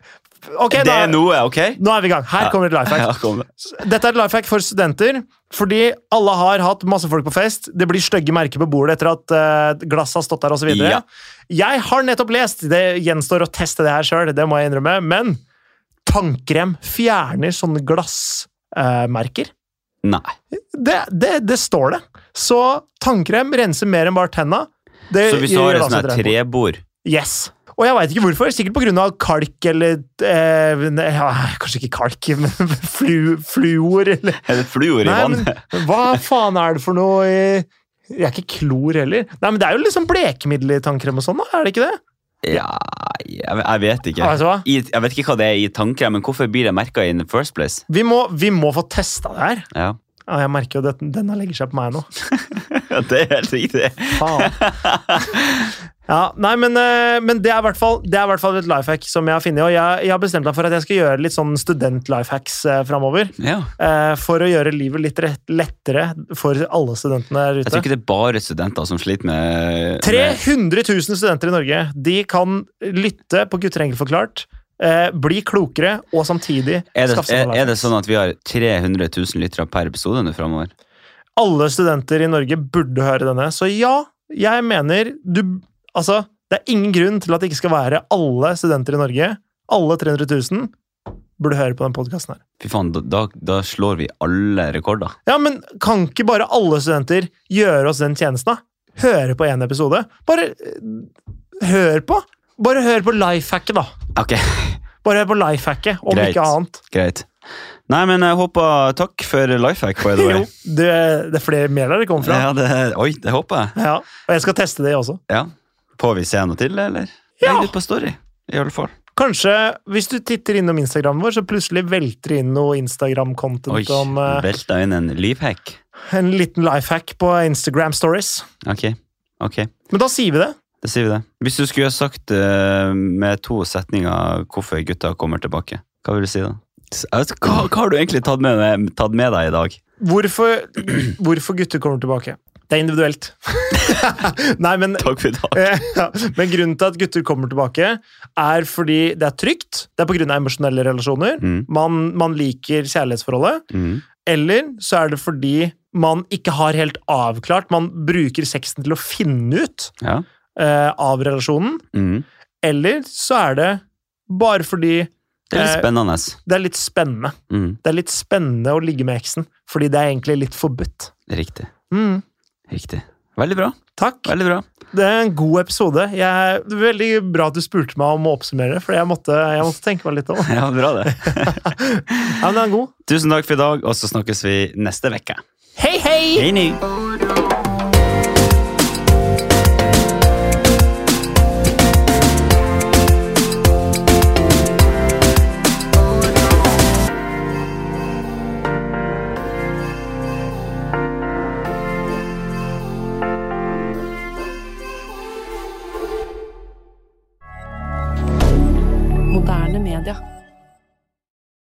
S1: Ok,
S2: Det
S1: da.
S2: er noe, ok?
S1: Nå er vi i gang. Her
S2: Ja.
S1: kommer et life hack.
S2: Ja, kom. det.
S1: Dette er et life hack for studenter, fordi alle har hatt masse folk på fest. Det blir stygge merker på bordet etter at eh, glasset har stått der osv.
S2: Ja.
S1: Jeg har nettopp lest, det gjenstår å teste det her sjøl, det må jeg innrømme, men tannkrem fjerner sånne glassmerker.
S2: Nei.
S1: det, det, det står det. Så tannkrem renser mer enn bare tenna. Det
S2: Så hvis du
S1: gjør
S2: har et
S1: også
S2: sånt
S1: et
S2: her
S1: regnbord.
S2: trebord *laughs*
S1: Yes. Og jeg veit ikke hvorfor. Sikkert pga. kalk eller eh, ne- ja, Kanskje ikke kalk, *laughs* men flu, fluor eller
S2: Er det fluor i
S1: Nei,
S2: vannet?
S1: men hva faen er det for noe i Det er ikke klor heller. Nei, men Det er jo liksom blekemiddel i tannkrem og sånn, da? er det ikke det?
S2: Ja, jeg, jeg vet ikke.
S1: Altså, hva?
S2: I, jeg vet ikke hva det er i tanken, men hvorfor blir det merka in the first place?
S1: Vi må, vi må få testa det her.
S2: Ja, *laughs*
S1: Ja, jeg merker jo at denne legger seg på meg nå.
S2: ja det er helt riktig.
S1: Faen. Ja, nei, men, eh, men det er i hvert fall, det er i hvert fall et life hack som jeg har funnet. Og jeg, jeg har bestemt meg for at jeg skal gjøre litt sånn student-life hacks eh, framover.
S2: Ja.
S1: eh, for å gjøre livet litt rett, lettere for alle studentene der
S2: Jeg tror
S1: ute.
S2: ikke det er bare studenter som sliter med, med
S1: 300 000 studenter i Norge de kan lytte på Gutter enkelt forklart, eh, bli klokere og samtidig
S2: er det,
S1: skaffe seg en
S2: er, er
S1: life
S2: det
S1: hack.
S2: sånn at vi har 300 000 lyttere per episode nå framover?
S1: Alle studenter i Norge burde høre denne. Så ja, jeg mener du Altså, det er ingen grunn til at det ikke skal være alle studenter i Norge Alle 300 000 burde høre på den podkasten her.
S2: Fy faen, da, da, da slår vi alle rekorder.
S1: Ja, men kan ikke bare alle studenter gjøre oss den tjenesten, da? Høre på én episode? Bare eh, hør på! Bare hør på lifehacket, da.
S2: Ok, *laughs*
S1: Bare hør på lifehacket, om
S2: Greit.
S1: ikke annet.
S2: greit. Nei, men jeg håper Takk for lifehack, by the way. *laughs*
S1: Jo, det, det er flere mer der det kommer fra.
S2: Ja, det, oi, det håper jeg.
S1: Ja. Og jeg skal teste det også.
S2: Ja. Får vi se noe til, eller?
S1: Ja.
S2: Legg det ut på Story, i alle fall.
S1: Kanskje, hvis du titter innom Instagramen vår, så plutselig velter det inn noe
S2: Oi,
S1: Instagram-content om eh,
S2: velta inn en livhack.
S1: en liten lifehack på Instagram Stories.
S2: Ok, ok.
S1: Men da sier vi det.
S2: Da sier vi det. Hvis du skulle ha sagt eh, med to setninger hvorfor gutta kommer tilbake, hva vil du si da? S- jeg vet ikke, Hva, hva har du egentlig tatt med, deg- tatt med deg i dag?
S1: Hvorfor, *clears throat* hvorfor gutter kommer tilbake? Det er individuelt. *laughs* Nei, men
S2: Takk for i dag.
S1: Eh, *laughs* ja. Men grunnen til at gutter kommer tilbake, er fordi det er trygt. Det er pga. emosjonelle relasjoner.
S2: Mm,
S1: Man, man liker kjærlighetsforholdet.
S2: mm,
S1: Eller så er det fordi man ikke har helt avklart. Man bruker sexen til å finne ut
S2: ja.
S1: eh, av relasjonen.
S2: Mm.
S1: Eller så er det bare fordi
S2: Det er litt
S1: Eh,
S2: spennende.
S1: det er litt spennende.
S2: Mm,
S1: Det er litt spennende å ligge med eksen, fordi det er egentlig litt forbudt.
S2: riktig.
S1: Mm.
S2: Riktig. Veldig bra.
S1: Takk.
S2: Veldig bra.
S1: Det er en god episode. Jeg, det er veldig bra at du spurte meg om å oppsummere, for jeg måtte, jeg måtte tenke meg litt om.
S2: Ja, bra det. *laughs*
S1: Ja, men den er god.
S2: Tusen takk for i dag, og så snakkes vi neste uke.
S1: Hei, hei!
S2: Hei, ny.